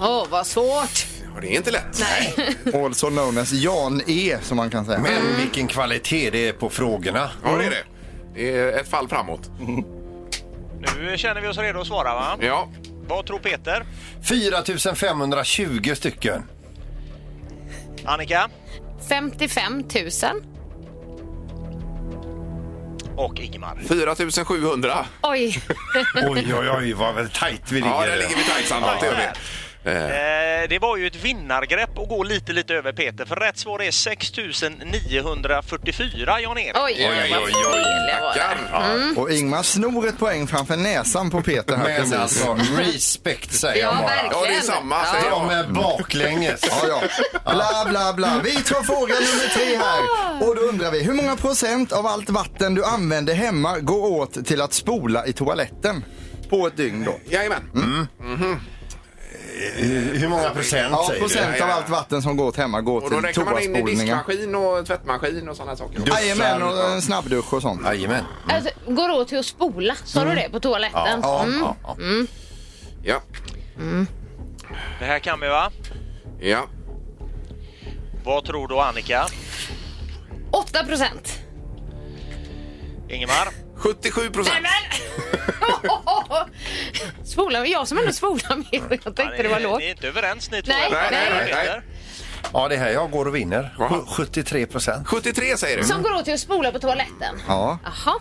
Speaker 5: Åh, vad svårt!
Speaker 3: Ja, Och det är inte lätt.
Speaker 5: Nej.
Speaker 6: Also known as Jan E, som man kan säga.
Speaker 3: Mm.
Speaker 4: Men vilken kvalitet det är på frågorna.
Speaker 3: Ja, det är det. Det är ett fall framåt.
Speaker 7: Nu känner vi oss redo att svara va?
Speaker 3: Ja.
Speaker 7: Vad tror Peter?
Speaker 4: 4520 stycken.
Speaker 7: Annika?
Speaker 5: 55 000.
Speaker 7: Och Ingemar.
Speaker 3: 4700.
Speaker 5: Oj.
Speaker 4: Oj, oj, oj, vad väl tajt vi ligger.
Speaker 3: Ja, där ligger vi tajt Sandra. Det gör vi. Eh,
Speaker 7: Eh, det var ju ett vinnargrepp att gå lite, lite över Peter, för rätt svar är 6944, Jan-Erik.
Speaker 5: Oj,
Speaker 3: oj,
Speaker 5: vad
Speaker 3: oj,
Speaker 5: fel jag var där.
Speaker 3: Tackar. Mm.
Speaker 6: Och Ingmar snor ett poäng framför näsan på Peter här.
Speaker 4: Men
Speaker 6: precis.
Speaker 4: alltså, respekt säger jag
Speaker 5: Ja,
Speaker 4: bara.
Speaker 5: verkligen.
Speaker 3: Ja, det är samma.
Speaker 5: Ja.
Speaker 3: säger jag.
Speaker 4: De är baklänges.
Speaker 6: Ja, ja. Bla, bla, bla. Vi tar fråga nummer tre här. Och då undrar vi, hur många procent av allt vatten du använder hemma går åt till att spola i toaletten? På ett dygn då.
Speaker 3: Jajamän.
Speaker 4: Hur många procent
Speaker 6: Ja,
Speaker 4: säger du?
Speaker 6: procent av allt vatten som går åt hemma går
Speaker 3: Och då
Speaker 6: till
Speaker 3: räknar man in i
Speaker 6: toaspolningar.
Speaker 3: diskmaskin och tvättmaskin och sådana saker. eh,
Speaker 4: Du-
Speaker 6: Jajamän, och en snabbdusch och sånt.
Speaker 4: Jajamän.
Speaker 5: Alltså, går åt till att spola, sa du det, på toaletten?
Speaker 6: Ja,
Speaker 5: Mm.
Speaker 6: ja,
Speaker 3: Ja.
Speaker 6: ja.
Speaker 7: Det här kan vi va?
Speaker 3: ja.
Speaker 7: Vad tror du Annika?
Speaker 5: 8 procent.
Speaker 7: Ingemar?
Speaker 3: 77 procent.
Speaker 5: Spola, jag som ändå spolar mer. Jag tänkte det var lågt.
Speaker 7: Ni är inte överens ni två.
Speaker 5: Nej,
Speaker 7: Peter.
Speaker 3: nej, nej, nej.
Speaker 4: Ja, det här jag går och vinner.
Speaker 3: Ja.
Speaker 4: 73 procent.
Speaker 3: 73 säger du.
Speaker 5: Som går åt till att spola på toaletten?
Speaker 6: Ja,
Speaker 5: Jaha.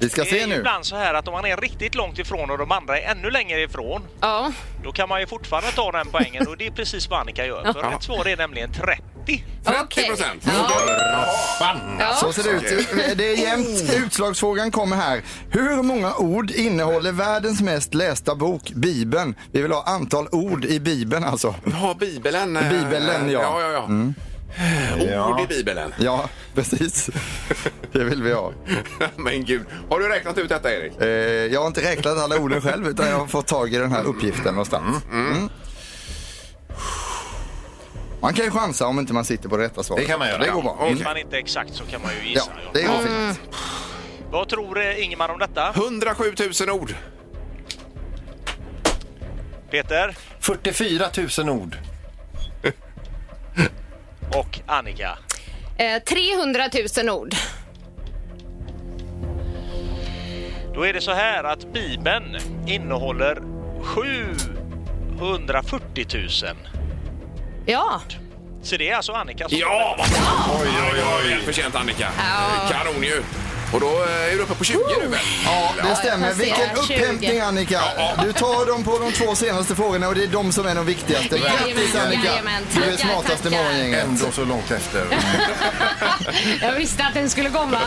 Speaker 6: vi ska
Speaker 7: Det
Speaker 6: se
Speaker 7: är ju
Speaker 6: nu.
Speaker 7: ibland så här att om man är riktigt långt ifrån och de andra är ännu längre ifrån,
Speaker 5: Ja.
Speaker 7: då kan man ju fortfarande ta den poängen och det är precis vad Annika gör. För rätt svar är nämligen 30.
Speaker 3: 30
Speaker 5: okej.
Speaker 3: Mm. procent.
Speaker 6: Så ser det ut. eh, Det är jämnt.
Speaker 4: Oh.
Speaker 6: Utslagsfrågan kommer här. Hur många ord innehåller världens mest lästa bok, Bibeln? Vi vill ha antal ord i Bibeln alltså.
Speaker 3: Ja, Bibeln. eh,
Speaker 6: Bibeln,
Speaker 3: ja,
Speaker 6: ja.
Speaker 3: ja, ja. Ord i Bibeln.
Speaker 6: Ja, precis. Det vill vi ha.
Speaker 3: Men gud. Har du räknat ut detta, Erik?
Speaker 6: Eh, jag har inte räknat alla orden själv utan jag har fått tag i den här uppgiften någonstans. Mm. Man kan ju chansa om inte man sitter på det rätta svaret.
Speaker 4: Det kan man göra.
Speaker 6: Det går bra.
Speaker 3: Okej.
Speaker 7: Vet man inte exakt så kan man ju
Speaker 6: Mm. Ja,
Speaker 7: gissa. ja.
Speaker 6: det går fint.
Speaker 7: Vad tror eh, Ingemar om detta?
Speaker 3: 107 000 ord.
Speaker 7: Peter
Speaker 4: 44 000 ord.
Speaker 7: och Annika?
Speaker 5: Eh, 300 000 ord.
Speaker 7: Då är det så här att Bibeln innehåller 740 000.
Speaker 5: Ja.
Speaker 7: Så det är alltså Annika som
Speaker 3: Ja, vad Oj, oj, oj. Välförtjänt, Annika.
Speaker 5: Ja.
Speaker 3: Kanon ju. Och då eh, är du uppe på 20 nu väl?
Speaker 6: Ja, det stämmer.
Speaker 5: jag passerar
Speaker 6: Vilken
Speaker 5: 20.
Speaker 6: upphämtning Annika! Du tar dem på de två senaste frågorna och det är de som är de viktigaste.
Speaker 5: Jajamän,
Speaker 6: Grattis Annika!
Speaker 5: jajamän.
Speaker 6: Du är
Speaker 5: Tackar,
Speaker 6: smartaste
Speaker 5: tackar.
Speaker 6: morgongänget.
Speaker 4: Ändå så långt efter.
Speaker 5: Jag visste att den skulle komma.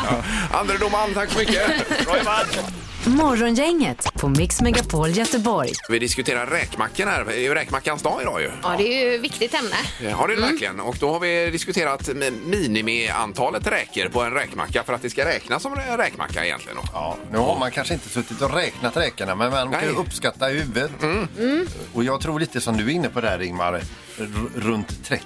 Speaker 3: Andre domaren, tack så mycket.
Speaker 7: Bra jobbat!
Speaker 2: Morgongänget på Mix Megapol Göteborg.
Speaker 3: Vi diskuterar räkmackan här. Det är ju räkmackans dag idag ju.
Speaker 5: Ja, det är ju ett viktigt ämne.
Speaker 3: Ja, det
Speaker 4: Mm.
Speaker 3: är det verkligen. Och då har vi diskuterat med minimiantalet räkor på en räkmacka för att det ska räknas som en räkmacka egentligen. då.
Speaker 4: Ja, nu har man kanske inte suttit och räknat räkorna, men man kan ju
Speaker 3: Nej.
Speaker 4: uppskatta i huvudet.
Speaker 5: Mm.
Speaker 4: Och jag tror lite som du är inne på där, Ingmar, r- runt 30.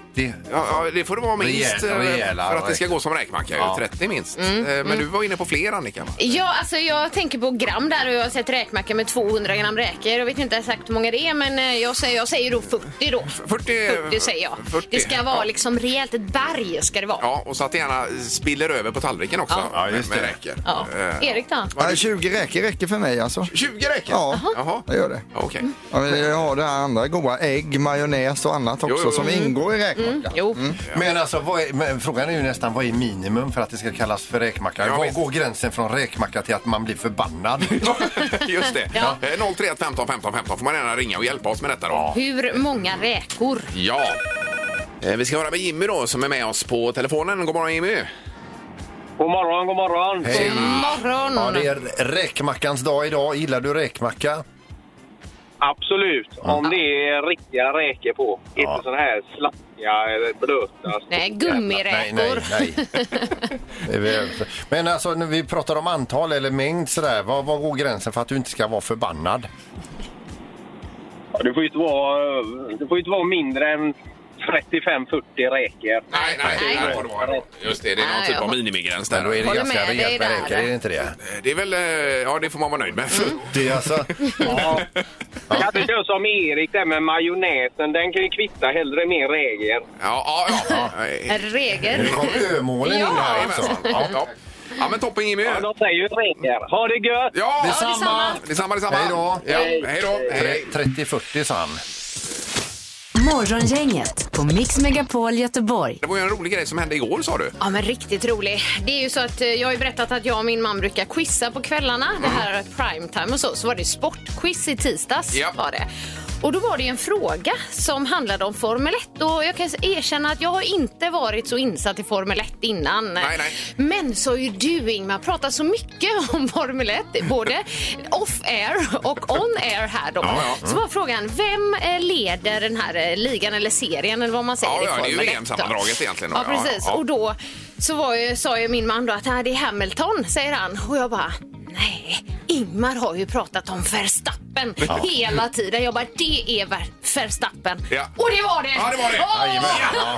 Speaker 3: Ja, ja, det får det vara minst
Speaker 4: Rejäl-
Speaker 3: eh,
Speaker 4: rejäla
Speaker 3: för att det ska
Speaker 4: räkor.
Speaker 3: gå som räkmacka. ju.
Speaker 4: Ja. Mm,
Speaker 3: 30 minst. Eh, Men du var inne på fler Annika. va?
Speaker 5: Ja, alltså jag tänker på gram där och jag har sett räkmacka med 200 gram räkor. Jag vet inte exakt hur många det är men eh, jag säger, jag säger då 40 då.
Speaker 3: 40,
Speaker 5: 40 säger jag.
Speaker 3: 40,
Speaker 5: Det ska vara
Speaker 3: Eh, ja.
Speaker 5: liksom rejält, ett berg ska det vara.
Speaker 3: Ja, och så att det gärna spiller över på tallriken också.
Speaker 5: Ja.
Speaker 4: Ja, just
Speaker 3: med,
Speaker 4: det.
Speaker 3: med räkor.
Speaker 5: Ja.
Speaker 3: Eh,
Speaker 5: Erik då?
Speaker 6: Ja, 20 räcker räcker för mig alltså.
Speaker 3: 20 räkor?
Speaker 6: Ja,
Speaker 3: Jaha.
Speaker 6: det gör det.
Speaker 3: Okej.
Speaker 6: Ja, men jag har det här andra goda, ägg, majonnäs och annat också
Speaker 3: Jo, Mm. jo, jo.
Speaker 6: som ingår i räkmackan.
Speaker 5: Jo.
Speaker 4: Men alltså, vad är, men frågan är ju nästan vad är minimum för att det ska kallas för räkmacka?
Speaker 3: Ja,
Speaker 4: Var
Speaker 3: visst.
Speaker 4: går gränsen från räkmacka till att man blir förbannad?
Speaker 3: Just det.
Speaker 5: Ja.
Speaker 3: Eh, 031 15 15 15 får man gärna ringa och hjälpa oss med detta. Då.
Speaker 5: Hur många räkor?
Speaker 3: Ja. Eh, Vi ska höra med Jimmy då som är med oss på telefonen. God morgon Jimmy!
Speaker 1: God morgon, god morgon.
Speaker 4: Hej.
Speaker 5: Morgon!
Speaker 4: Ja, det är räkmackans dag idag. Gillar du räkmacka?
Speaker 1: Absolut, om det är riktiga räkor på. Inte såna här slappiga eller blöta.
Speaker 5: Nej,
Speaker 4: Nej,
Speaker 5: gummiräkor.
Speaker 4: nej, nej. Det är väl- Men alltså, när vi pratar om antal eller mängd sådär, vad, vad går gränsen för att du inte ska vara förbannad?
Speaker 1: Ja, Det får ju inte vara, det får ju inte vara mindre än
Speaker 10: 35-40 räker.
Speaker 3: Nej, nej,
Speaker 5: Nej.
Speaker 3: nej. Var det var. Just det, det är någon
Speaker 5: Nej,
Speaker 3: typ
Speaker 5: jag
Speaker 3: av
Speaker 5: hop-
Speaker 3: minimigräns
Speaker 4: Men
Speaker 3: där.
Speaker 4: då är det
Speaker 5: Håller
Speaker 4: ganska
Speaker 5: med dig
Speaker 4: rejält med
Speaker 5: där.
Speaker 4: räkor, är det inte det?
Speaker 3: Det är väl, eh, ja det får man vara nöjd med.
Speaker 4: Det är alltså...
Speaker 10: Ja. Jag hade kört som Erik där med majonnäsen. Den kan ju kvitta hellre mer räger.
Speaker 3: Ja, ja, ja. Nej.
Speaker 5: Regel.
Speaker 4: Nu kom ömålen in här också.
Speaker 3: Jajamensan. Ja, ja. ja, men toppen Jimmy.
Speaker 10: Ja, de säger ju räger. Ha det gött!
Speaker 3: Ja,
Speaker 5: detsamma.
Speaker 3: detsamma, detsamma.
Speaker 4: Hej då.
Speaker 3: Ja, hej då. Eh, Hej.
Speaker 4: 30-40 sa han.
Speaker 2: Morgongänget på Mix Megapol Göteborg.
Speaker 3: Det var ju en rolig grej som hände igår sa du.
Speaker 5: Ja men riktigt rolig. Det är ju så att eh, jag har ju berättat att jag och min man brukar quizza på kvällarna. Det
Speaker 3: Mm.
Speaker 5: här är primetime och så. Så var det sportquiz i tisdags.
Speaker 3: Ja.
Speaker 5: Var det. Och då var det en fråga som handlade om Formel 1 och jag kan erkänna att jag har inte varit så insatt i Formel 1 innan.
Speaker 3: Nej, nej.
Speaker 5: Men så har ju du Ingmar pratat så mycket om Formel 1, både off-air och on-air här då.
Speaker 3: Ja, ja.
Speaker 5: Så var frågan, vem eh, leder den här eh, ligan eller serien eller vad man säger
Speaker 3: Ja,
Speaker 5: i
Speaker 3: ja, det är ju
Speaker 5: Formel 1 då?
Speaker 3: VM-sammandraget egentligen då,
Speaker 5: Ja,
Speaker 3: ja, ja,
Speaker 5: precis.
Speaker 3: ja.
Speaker 5: Och då så var ju, sa ju min man då att "Nej, det är Hamilton, säger han. Och jag bara, nej, Ingmar har ju pratat om Verstappen hela tiden. Jag bara, det är Ver- Verstappen.
Speaker 3: Ja.
Speaker 5: Och det var det!
Speaker 3: Ja, det var det.
Speaker 5: Åh!
Speaker 4: Jajamän, ja.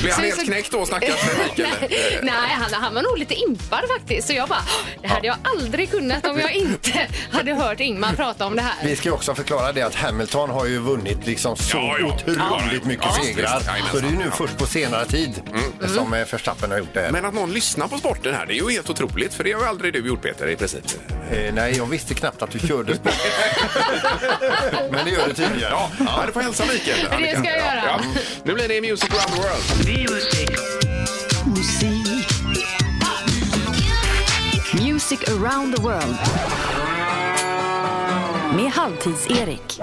Speaker 3: Blev han
Speaker 5: Så-
Speaker 3: helt
Speaker 5: så-
Speaker 3: knäckt då stackars Mikael?
Speaker 5: Nej, nej han, han var nog lite impad faktiskt. Så jag bara, det hade jag aldrig kunnat om jag inte hade hört Ingmar prata om det här.
Speaker 4: Vi ska ju också förklara det att Hamilton har ju vunnit liksom så
Speaker 3: Ja, ja.
Speaker 4: otroligt
Speaker 3: Ja,
Speaker 4: mycket
Speaker 3: ja,
Speaker 4: segrar.
Speaker 3: visst. Mm. Jajamensan.
Speaker 4: Så det är ju nu först på senare tid som eh, Verstappen har gjort det.
Speaker 3: Men att någon lyssnar på sporten här, det är ju helt otroligt. För det har ju aldrig du gjort Peter i princip.
Speaker 4: Eh, nej, jag visste knappt att du körde sport. Men det gör du tydligen.
Speaker 3: Ja, ja. du får hälsa Mikael.
Speaker 5: ska jag göra.
Speaker 3: Nu blir det Music around the world.
Speaker 2: Music around the world. Med Halvtids-Erik.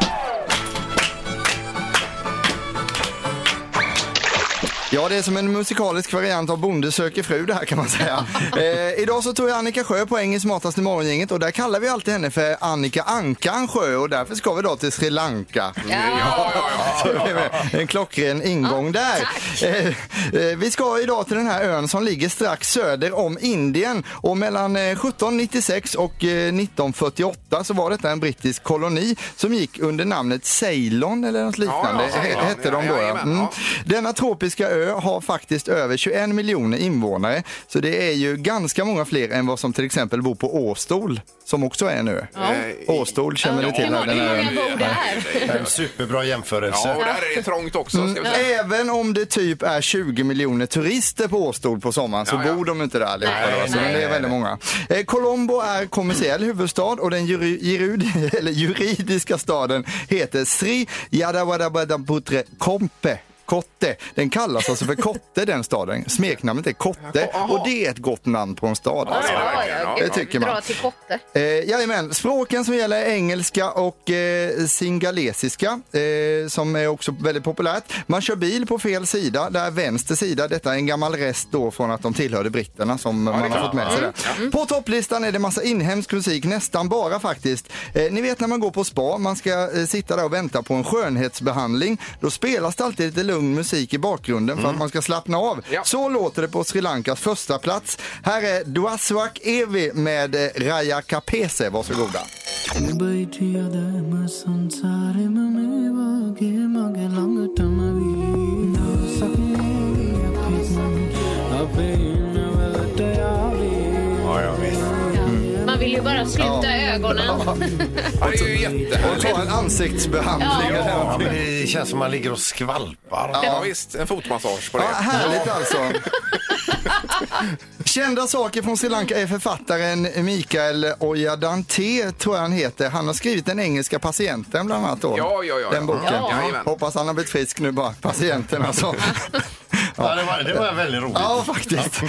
Speaker 6: Ja, det är som en musikalisk variant av Bonde söker fru det här kan man säga. eh, idag så tog jag Annika Sjö på Engelsk smartaste morgongänget och där kallar vi alltid henne för Annika Ankan Sjö och därför ska vi då till Sri Lanka.
Speaker 3: Ja, ja, ja.
Speaker 6: Så det är En klockren ingång där. Eh, eh, Vi ska idag till den här ön som ligger strax söder om Indien och mellan eh, 1796 och eh, 1948 så var detta en brittisk koloni som gick under namnet Ceylon eller något liknande.
Speaker 3: Ja, ja,
Speaker 6: he-
Speaker 3: Ceylon.
Speaker 6: hette de
Speaker 3: Ja,
Speaker 6: då. Ja,
Speaker 3: jajamän,
Speaker 6: mm.
Speaker 3: ja.
Speaker 6: Denna tropiska ö har faktiskt över 21 miljoner invånare så det är ju ganska många fler än vad som till exempel bor på Åstol som också är en ö.
Speaker 3: Eh,
Speaker 6: Åstol känner ni
Speaker 5: Ja,
Speaker 6: till?
Speaker 5: hur många-
Speaker 6: den
Speaker 5: hur
Speaker 6: här ön?
Speaker 5: många bor där?
Speaker 4: En superbra jämförelse.
Speaker 3: Ja, och där är det trångt också.
Speaker 6: Mm.
Speaker 3: Ska vi säga.
Speaker 6: Även om det typ är 20 miljoner turister på Åstol på sommaren så
Speaker 3: Ja, ja.
Speaker 6: bor de inte där allihopa.
Speaker 4: Nej,
Speaker 6: då, så
Speaker 4: nej.
Speaker 6: det är väldigt många. Eh, Colombo är kommersiell huvudstad och den juri, jirud, eller juridiska staden heter Sri Jadawadabadaputre Kompe. Kotte. Den kallas alltså för Kotte den staden. Smeknamnet är Kotte och det är ett gott namn på en stad.
Speaker 3: Ja, det
Speaker 6: Alltså.
Speaker 3: är det verkligen. Ja,
Speaker 6: Det
Speaker 3: ja.
Speaker 6: tycker man.
Speaker 5: Dra till kotte.
Speaker 6: Eh, jajamän, språken som gäller är engelska och eh, singalesiska eh, som är också väldigt populärt. Man kör bil på fel sida, där är vänster sida. Detta är en gammal rest då från att de tillhörde britterna som man har fått med sig där. På topplistan är det massa inhemsk musik, nästan bara faktiskt. Eh, ni vet när man går på spa, man ska eh, sitta där och vänta på en skönhetsbehandling. Då spelas det alltid lite lugn musik i bakgrunden för att man ska slappna av.
Speaker 3: Ja.
Speaker 6: Så låter det på Sri Lankas första plats. Här är Duaswak Evi med eh, Raya Kapese. Varsågoda.
Speaker 3: Ja, ja, visst.
Speaker 5: Man vill ju bara sluta ögonen.
Speaker 3: Ja, det är ju
Speaker 6: Och
Speaker 3: jättehärligt.
Speaker 6: ta en ansiktsbehandling.
Speaker 4: Ja, men det känns som man ligger och skvalpar.
Speaker 3: Ja, visst, en fotmassage på det.
Speaker 6: Ja, härligt alltså. Kända saker från Sri Lanka är författaren Mikael Oyadante, tror jag han heter. Han har skrivit Den engelska patienten bland annat. Då.
Speaker 3: Ja, ja, ja,
Speaker 6: Den
Speaker 3: ja.
Speaker 6: boken.
Speaker 3: Ja. Jajamän.
Speaker 6: Hoppas han har blivit frisk nu bara, patienten alltså.
Speaker 4: Ja, det, var, det var väldigt roligt.
Speaker 6: Ja, faktiskt.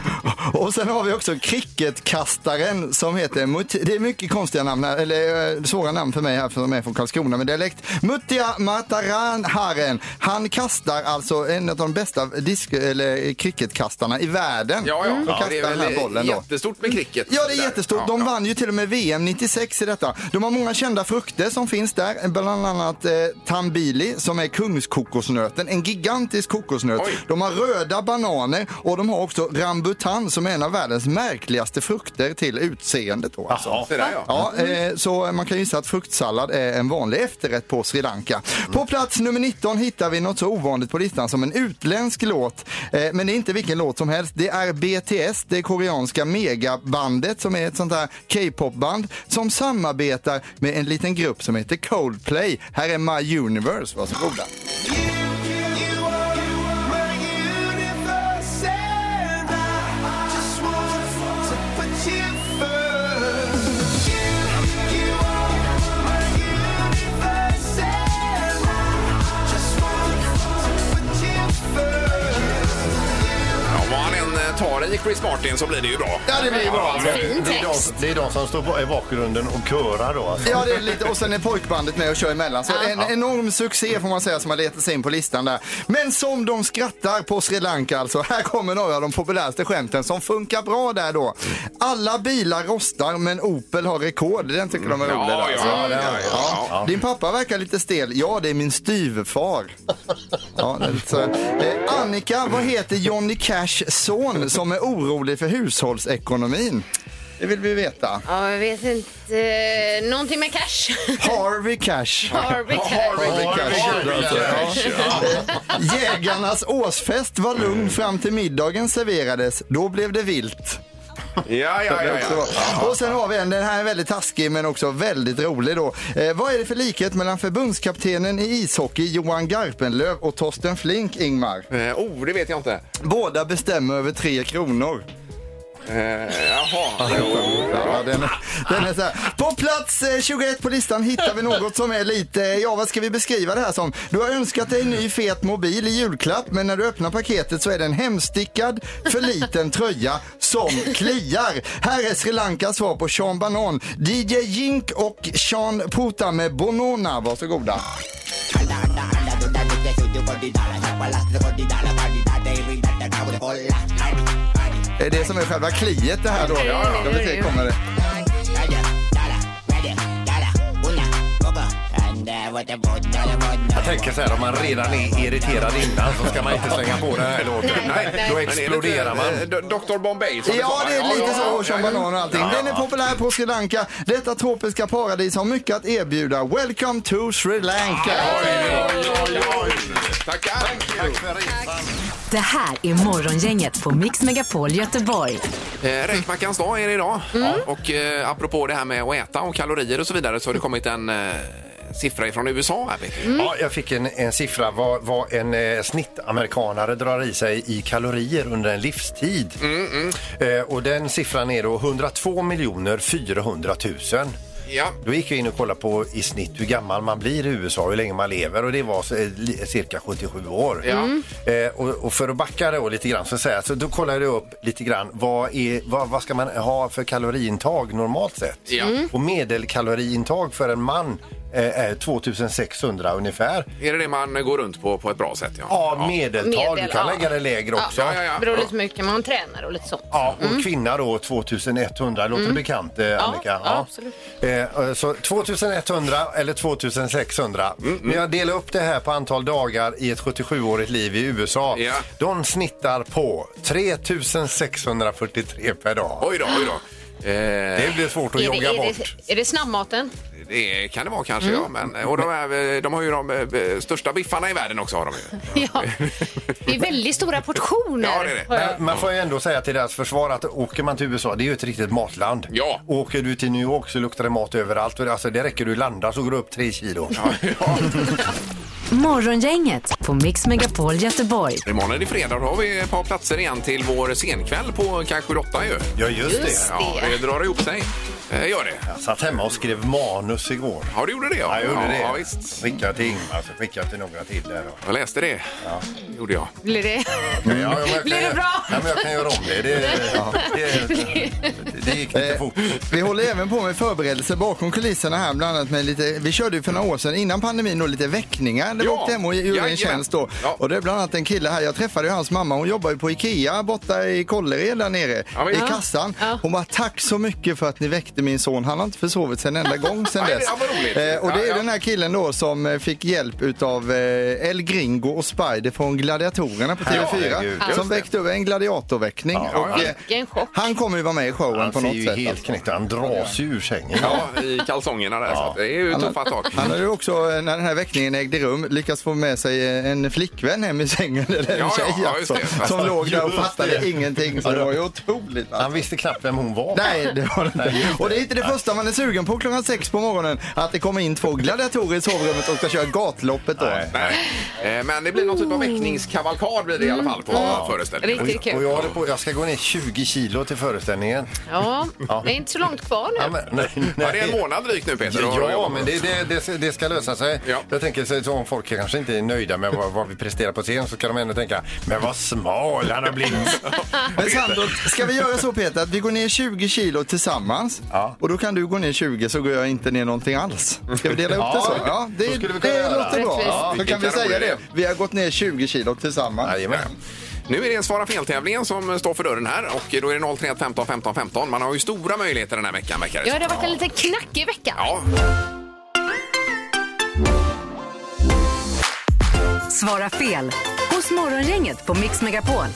Speaker 6: Och sen har vi också cricketkastaren som heter Mut- Det är mycket konstiga namn här, eller eh, svåra namn för mig här som är från Karlskrona med dialekt. Muttia Mataranharen. Han kastar alltså en av de bästa disk- eller eh, cricketkastarna i världen.
Speaker 3: Ja, ja. ja
Speaker 6: Och Mm. kastar den här bollen då.
Speaker 3: jättestort med cricket.
Speaker 6: Ja, det är jättestort. De vann ju till och med VM 96 i detta. De har många kända frukter som finns där, bland annat eh, tambili som är kungskokosnöten, en gigantisk kokosnöt.
Speaker 3: Oj.
Speaker 6: De har röda bananer och de har också rambutan som en av världens märkligaste frukter till utseendet. Då, alltså.
Speaker 3: Så där, ja.
Speaker 6: Ja, eh, så man kan gissa att fruktsallad är en vanlig efterrätt på Sri Lanka. På plats nummer 19 hittar vi något så ovanligt på listan som en utländsk låt. Eh, men det är inte vilken låt som helst. Det är BTS, det koreanska megabandet som är ett sånt här K-popband som samarbetar med en liten grupp som heter Coldplay. Här är My Universe, varsågoda.
Speaker 3: Ja, vad han än eh, tar i Chris Martin så blir det ju bra.
Speaker 6: Ja, det blir bra.
Speaker 5: Fin
Speaker 4: Alltså, Det är, de,
Speaker 5: text.
Speaker 4: det är de som står på, i bakgrunden och körar då. Alltså.
Speaker 6: Ja, det är lite, och sen är pojkbandet med och kör emellan. Så en enorm succé får man säga som har letat sig in på listan där. Men som de skrattar på Sri Lanka alltså. Här kommer några av de populäraste skämten som funkar bra där då. Alla bilar rostar men Opel har rekord. Den tycker de är rolig
Speaker 3: Mm.
Speaker 6: där.
Speaker 3: Ja,
Speaker 6: alltså.
Speaker 3: ja, ja, ja, ja.
Speaker 6: Din pappa verkar lite stel. Ja, det är min styvfar. Ja, det är lite så. Eh, Annika, vad heter Johnny Cashs son som är orolig för hushållsekonomin? Det vill vi veta.
Speaker 5: Ja, jag vet inte. Eh, Någonting med cash.
Speaker 6: Harvey Cash.
Speaker 5: Harvey
Speaker 3: Harvey
Speaker 5: cash.
Speaker 6: Harvey Cash.
Speaker 3: Cash, ja.
Speaker 6: Jägarnas årsfest var lugn fram till middagen serverades. Då blev det vilt.
Speaker 3: Ja, ja, ja, ja.
Speaker 6: Och sen har vi en, den här är väldigt taskig men också väldigt rolig då. Eh, vad är det för likhet mellan förbundskaptenen i ishockey Johan Garpenlöv och Torsten Flink, Ingmar?
Speaker 3: Eh, Oh, det vet jag inte.
Speaker 6: Båda bestämmer över tre kronor.
Speaker 3: Eh, Jaha.
Speaker 6: Ja, den, är- den är så här. På plats eh, 21 på listan hittar vi något som är lite, eh, ja vad ska vi beskriva det här som? Du har önskat dig en ny fet mobil i julklapp men när du öppnar paketet så är det en hemstickad för liten tröja som kliar. Här är Sri Lankas svar på Sean Banan, DJ Jink och Sean Puta med Bonona. Varsågoda. Det är det som är själva kliet det här då.
Speaker 5: Ja, ja.
Speaker 6: De tre kommer det.
Speaker 4: Jag tänker så här, om man redan är irriterad innan så ska man inte slänga på den här låten.
Speaker 5: Nej.
Speaker 4: Då
Speaker 3: Men är det inte,
Speaker 4: exploderar man.
Speaker 3: eh, Do- Dr Bombay som
Speaker 6: Ja,
Speaker 3: sa?
Speaker 6: det är lite
Speaker 3: ja,
Speaker 6: så.
Speaker 3: ja,
Speaker 6: Och Sean
Speaker 3: ja.
Speaker 6: Banan och allting. Den är populär på Sri Lanka. Detta tropiska paradis har mycket att erbjuda. Welcome to Sri Lanka!
Speaker 3: Oj, oj, oj. Tackar.
Speaker 2: Det här är Morgongänget på Mix Megapol Göteborg.
Speaker 3: Eh, Räkmackans dag är det idag. Och eh, apropå det här med att äta och kalorier och så vidare så har det kommit en eh, siffra ifrån USA här. Peter.
Speaker 4: Ja, jag fick en, en siffra vad, vad en eh, snittamerikanare drar i sig i kalorier under en livstid.
Speaker 3: Mm,
Speaker 4: Eh, och den siffran är då 102 miljoner 400 000.
Speaker 3: Ja.
Speaker 4: Då gick jag in och kollade på i snitt hur gammal man blir i USA, hur länge man lever och det var så- eh, li- cirka 77 år.
Speaker 3: Ja. Mm.
Speaker 4: Eh, och, och för att backa då lite grann så, säger jag, så då kollade jag upp lite grann vad, är, vad, vad ska man ha för kaloriintag normalt sett?
Speaker 3: Ja. Mm.
Speaker 4: Och medelkaloriintag för en man eh, är 2600 ungefär.
Speaker 3: Är det det man går runt på på ett bra sätt? Ja,
Speaker 4: Ja, medeltal.
Speaker 5: Medel,
Speaker 4: du kan
Speaker 5: ja.
Speaker 4: lägga det lägre också.
Speaker 3: Ja, ja, ja.
Speaker 5: Beror lite på hur mycket man tränar och lite sånt.
Speaker 4: Ja, och kvinna då 2100. Låter det bekant, eh, Annika?
Speaker 5: Mm. ja, absolut.
Speaker 4: Eh, eh, så 2100 eller 2600.
Speaker 5: Mm,
Speaker 4: Men jag delar upp det här på antal dagar i ett 77-årigt liv i USA.
Speaker 3: Ja.
Speaker 4: De snittar på 3643 per dag.
Speaker 3: Oj då, oj då. Eh,
Speaker 4: Det blir svårt att
Speaker 5: Är det,
Speaker 4: jogga
Speaker 5: är,
Speaker 4: bort.
Speaker 5: det, är det snabbmaten?
Speaker 3: det Mm. kan det vara kanske, ja. Men, och de, här, eh, de har ju de eh, största biffarna i världen också. Har de. ju.
Speaker 5: Ja. Det är väldigt stora portioner.
Speaker 3: Ja, det är det.
Speaker 5: har jag
Speaker 4: Men man får ju ändå säga till deras försvar att åker man till USA, det är ju ett riktigt matland.
Speaker 3: Ja.
Speaker 4: Åker du till New York så luktar det mat överallt. Och det- Alltså, det räcker du landar så går du upp tre kilo.
Speaker 2: Morgongänget på Mix Megapol Göteborg.
Speaker 3: Imorgon är det fredag och då har vi ett par platser igen till vår senkväll på kanske 8 ju.
Speaker 4: Ja, just,
Speaker 5: Just
Speaker 4: det.
Speaker 3: Ja, det drar ihop sig. Eh, gör det.
Speaker 4: Jag satt hemma och skrev manus igår.
Speaker 3: Ja, du gjorde det?
Speaker 4: Ja, jag gjorde det.
Speaker 3: Ja, visst.
Speaker 4: Skickade till Ingmar, så skickade jag till några till där. då.
Speaker 3: Jag läste det. Det gjorde jag.
Speaker 5: Blir det?
Speaker 4: Ja, men jag kan
Speaker 5: Mm. Blir det
Speaker 4: göra-
Speaker 5: bra?
Speaker 4: Ja, men jag kan göra om det. Det, det, det, det gick lite fort.
Speaker 6: Eh, Vi håller även på med förberedelser bakom kulisserna här, bland annat med lite, vi körde ju för några år sedan innan pandemin då lite väckningar. Det
Speaker 3: Ja.
Speaker 6: var åkte hem och gjorde
Speaker 3: Jajamän.
Speaker 6: en tjänst då.
Speaker 3: Ja.
Speaker 6: Och det är bland annat en kille här, jag träffade ju hans mamma, hon jobbar ju på IKEA borta i Kållered där nere
Speaker 3: Ja, men-
Speaker 6: i
Speaker 3: Ja.
Speaker 6: kassan.
Speaker 5: Ja.
Speaker 6: Hon bara, tack så mycket för att ni väckte min son, han har inte försovit sig en enda gång sedan
Speaker 3: Nej,
Speaker 6: dess.
Speaker 3: ja, vad roligt.
Speaker 6: Eh, och det
Speaker 3: Ja,
Speaker 6: är
Speaker 3: ja.
Speaker 6: den här killen då som eh, fick hjälp utav eh, El Gringo och Spider från Gladiatorerna på TV4
Speaker 4: Herregud, just
Speaker 6: som
Speaker 4: det.
Speaker 6: väckte upp en gladiatorväckning. och,
Speaker 3: ja.
Speaker 6: eh,
Speaker 5: Vilken chock.
Speaker 6: han kommer ju vara med i showen
Speaker 4: Han
Speaker 6: på
Speaker 4: ser
Speaker 6: något
Speaker 4: ju
Speaker 6: sätt.
Speaker 4: helt
Speaker 6: alltså.
Speaker 4: knäckt ut. Han dras ju ur sängen.
Speaker 3: Ja, i kalsongerna där. Så att det är ju tuffa tag.
Speaker 6: Han har ju också, eh, när den här väckningen ägde rum, lyckats få med sig eh, en flickvän hem i sängen. Eller en
Speaker 3: Ja, ja,
Speaker 6: tjej
Speaker 3: ja, just
Speaker 6: alltså,
Speaker 3: det.
Speaker 6: som låg där och
Speaker 4: Just
Speaker 6: fattade ingenting. Så det var ju otroligt.
Speaker 4: Han
Speaker 6: Alltså.
Speaker 4: visste knappt vem hon var.
Speaker 6: Nej, det var det inte. Och det är inte det första man är sugen på klockan sex på morgonen. Att det kommer in två gladiatorer i sovrummet och ska köra gatloppet då.
Speaker 3: Nej. Eh, Men det blir någon typ av väckningskavalkad blir det i alla fall på föreställningen.
Speaker 5: Riktigt
Speaker 4: Och
Speaker 5: kul.
Speaker 4: jag, håller på, jag ska gå ner 20 kilo till föreställningen.
Speaker 5: Ja, det är inte så långt kvar nu.
Speaker 4: Ja, men, nej, nej.
Speaker 3: Ja, det är en månad drygt nu Peter. att
Speaker 4: Ja,
Speaker 3: jobba
Speaker 4: men
Speaker 3: på.
Speaker 4: det, det, det, ska- det ska lösa sig.
Speaker 3: Ja.
Speaker 4: Jag tänker så- så om folk kanske inte är nöjda med vad, vad vi presterar på scen så kan de ändå tänka, men vad smal han har blivit.
Speaker 6: Men Sandro, ska vi göra så Peter att vi går ner 20 kilo tillsammans
Speaker 4: Ja.
Speaker 6: och då kan du gå ner 20 så går jag inte ner någonting alls. Ska vi dela upp det så?
Speaker 4: Ja,
Speaker 6: Ja, det,
Speaker 4: så skulle vi kunna
Speaker 6: det
Speaker 4: göra.
Speaker 6: låter bra.
Speaker 5: Rättvist.
Speaker 6: Ja, då kan vi
Speaker 3: Vilken
Speaker 6: säga
Speaker 3: rolig
Speaker 6: det.
Speaker 3: idé.
Speaker 6: Vi har gått ner 20 kilo tillsammans.
Speaker 4: Jajamän.
Speaker 3: Nu är det en Svara fel-tävling som står för dörren här och då är det 031 15 15 15. Man har ju stora möjligheter den här veckan verkar det
Speaker 5: Ja,
Speaker 3: som.
Speaker 5: det har varit en liten knackig vecka.
Speaker 3: Ja,
Speaker 2: Svara fel hos Morgongänget på Mix Megapol.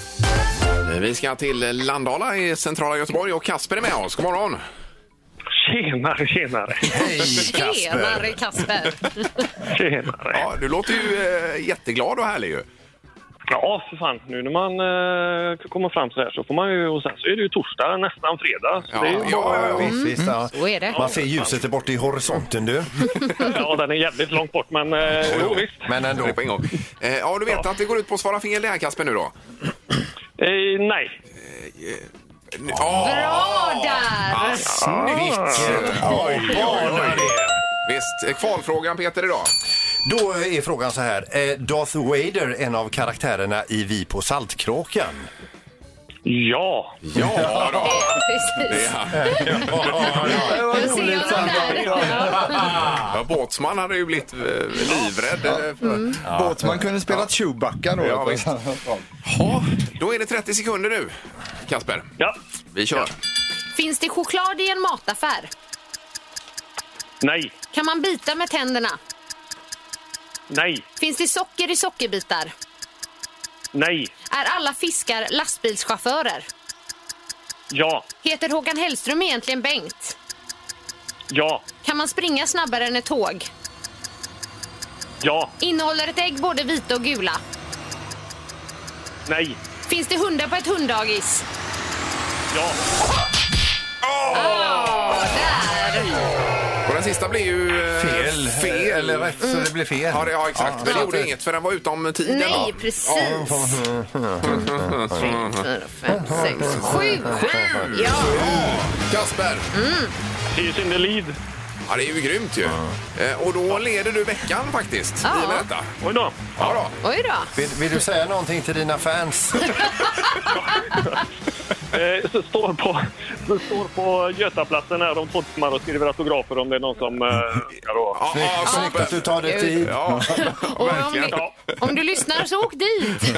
Speaker 3: vi ska till Landala i centrala Göteborg och Kasper är med oss. God morgon!
Speaker 10: Tjenare, tjenare.
Speaker 4: Hej Kasper!
Speaker 5: Tjenare Kasper!
Speaker 10: tjenare.
Speaker 3: Ja, du låter ju eh, jätteglad och härlig ju.
Speaker 10: Ja, för fan. Nu när man eh, kommer fram så här så får man ju... Och sen så är det ju torsdag, nästan fredag. Så
Speaker 3: Ja,
Speaker 10: det är ju
Speaker 3: ja, ja, ja.
Speaker 4: Visst, visst, ja. mm.
Speaker 5: Så är det.
Speaker 4: Man ser ljuset där borta i horisonten du.
Speaker 10: ja, den är jävligt långt bort, men eh, jo, visst.
Speaker 4: Men
Speaker 3: Det
Speaker 4: ändå.
Speaker 3: är på en gång. Eh, Ja, du vet att det går ut på att svara fel det här Kasper nu då?
Speaker 10: Eh, nej.
Speaker 3: Nu- Ja,
Speaker 5: Bra där!
Speaker 3: snyggt! Oj, oj, oj. Visst, eh, kvalfrågan Peter idag.
Speaker 4: Då är frågan så här, är Darth Vader en av karaktärerna i Vi på Saltkråkan?
Speaker 10: Ja.
Speaker 3: Ja, då.
Speaker 5: Precis.
Speaker 6: Vad
Speaker 5: Jag ser
Speaker 6: roligt,
Speaker 5: honom där. Ja.
Speaker 3: Ja, Båtsman hade ju blivit eh, livrädd. eh, för-
Speaker 6: Båtsman kunde spela Chewbacca då.
Speaker 3: Ja, visst. Ja, då är det 30 sekunder nu, Kasper.
Speaker 10: Ja.
Speaker 3: Vi kör.
Speaker 5: Finns det choklad i en mataffär?
Speaker 10: Nej.
Speaker 5: Kan man bita med tänderna?
Speaker 10: Nej.
Speaker 5: Finns det socker i sockerbitar?
Speaker 10: Nej.
Speaker 5: Är alla fiskar lastbilschaufförer?
Speaker 10: Ja.
Speaker 5: Heter Håkan Hellström egentligen Bengt?
Speaker 10: Ja.
Speaker 5: Kan man springa snabbare än ett tåg?
Speaker 10: Ja.
Speaker 5: Innehåller ett ägg både vita och gula?
Speaker 10: Nej.
Speaker 5: Finns det hundar på ett hunddagis?
Speaker 10: Ja.
Speaker 3: Och den sista blir ju... eh,
Speaker 4: Fel.
Speaker 3: Fel.
Speaker 4: Eller rätt så det blir fel.
Speaker 3: Ja, det, ja exakt. Men det gjorde inget för den var utom tiden.
Speaker 5: Nej,
Speaker 3: då.
Speaker 5: precis. Tre, fyra, fem, sex, sju.
Speaker 3: Sju!
Speaker 5: Ja.
Speaker 3: Kasper!
Speaker 10: Det är synd det lid.
Speaker 3: Ja, det är ju grymt ju. Eh, Och då leder du veckan faktiskt.
Speaker 5: Ja.
Speaker 3: I och med detta.
Speaker 10: Oj då.
Speaker 3: Ja, då.
Speaker 5: Oj då.
Speaker 4: Vill, vill du säga någonting till dina fans?
Speaker 10: Eh, så står på, så står på Götaplatsen här om två timmar och skriver autografer om det är någon som... Eh, önskar då.
Speaker 3: Ja, ja,
Speaker 4: Snyggt att
Speaker 3: toppen.
Speaker 4: du tar dig tid.
Speaker 3: Ja,
Speaker 5: Och om,
Speaker 3: verkligen.
Speaker 5: du, om du lyssnar så åk dit.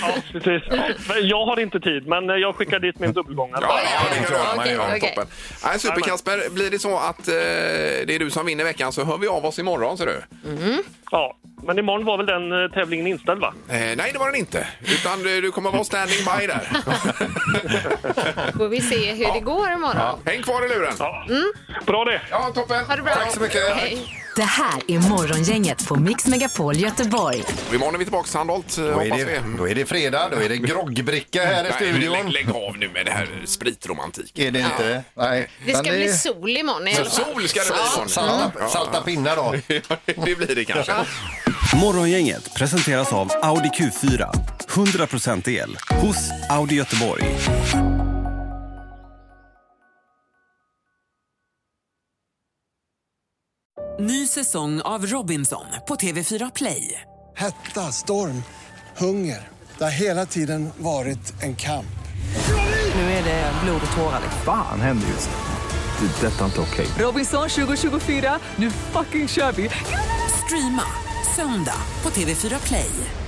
Speaker 10: ja, precis. Ja, Jag har inte tid, men eh, jag skickar dit min dubbelgångare.
Speaker 3: Ja, ja, det klarar man ju.
Speaker 5: Okej,
Speaker 3: Ja,
Speaker 5: okej.
Speaker 3: Toppen. Nej, super Kasper, blir det så att eh, det är du som vinner veckan så hör vi av oss imorgon ser du.
Speaker 10: Ja, men imorgon var väl den eh, tävlingen inställd, va?
Speaker 3: Eh, nej, det var den inte. Utan eh, du, du kommer vara standing by där.
Speaker 5: Får vi se hur det går imorgon.
Speaker 3: Häng kvar i luren.
Speaker 10: Ja. Bra det!
Speaker 3: Ja, toppen.
Speaker 5: Ha det bra.
Speaker 3: Tack så mycket.
Speaker 5: Hej.
Speaker 2: Det här är Morgongänget på Mix Megapol Göteborg.
Speaker 3: Och Imorgon är vi tillbaka Sandholt, eh,
Speaker 4: Då är,
Speaker 3: hoppas
Speaker 4: det,
Speaker 3: vi.
Speaker 4: då är det fredag, då är det groggbricka här i
Speaker 3: Nej, lägg,
Speaker 4: studion.
Speaker 3: lägg av nu med det här spritromantik.
Speaker 6: Är det inte det? Nej.
Speaker 5: Det ska
Speaker 6: Men
Speaker 5: bli sol imorgon i alla fall.
Speaker 3: Sol ska det bli imorgon.
Speaker 4: Salta, salta pinnar då.
Speaker 3: Ja, det blir det kanske.
Speaker 11: Morgongänget presenteras av Audi Q4. 100% el hos Audi Göteborg.
Speaker 9: Ny säsong av Robinson på TV4 Play.
Speaker 11: Hetta, storm, hunger. Det har hela tiden varit en kamp.
Speaker 12: Nu är det eh, blod och tårar. liksom.
Speaker 13: Fan händer just det. Det är detta inte okej.
Speaker 2: Robinson 2024, nu fucking kör vi! Streama söndag på TV4 Play.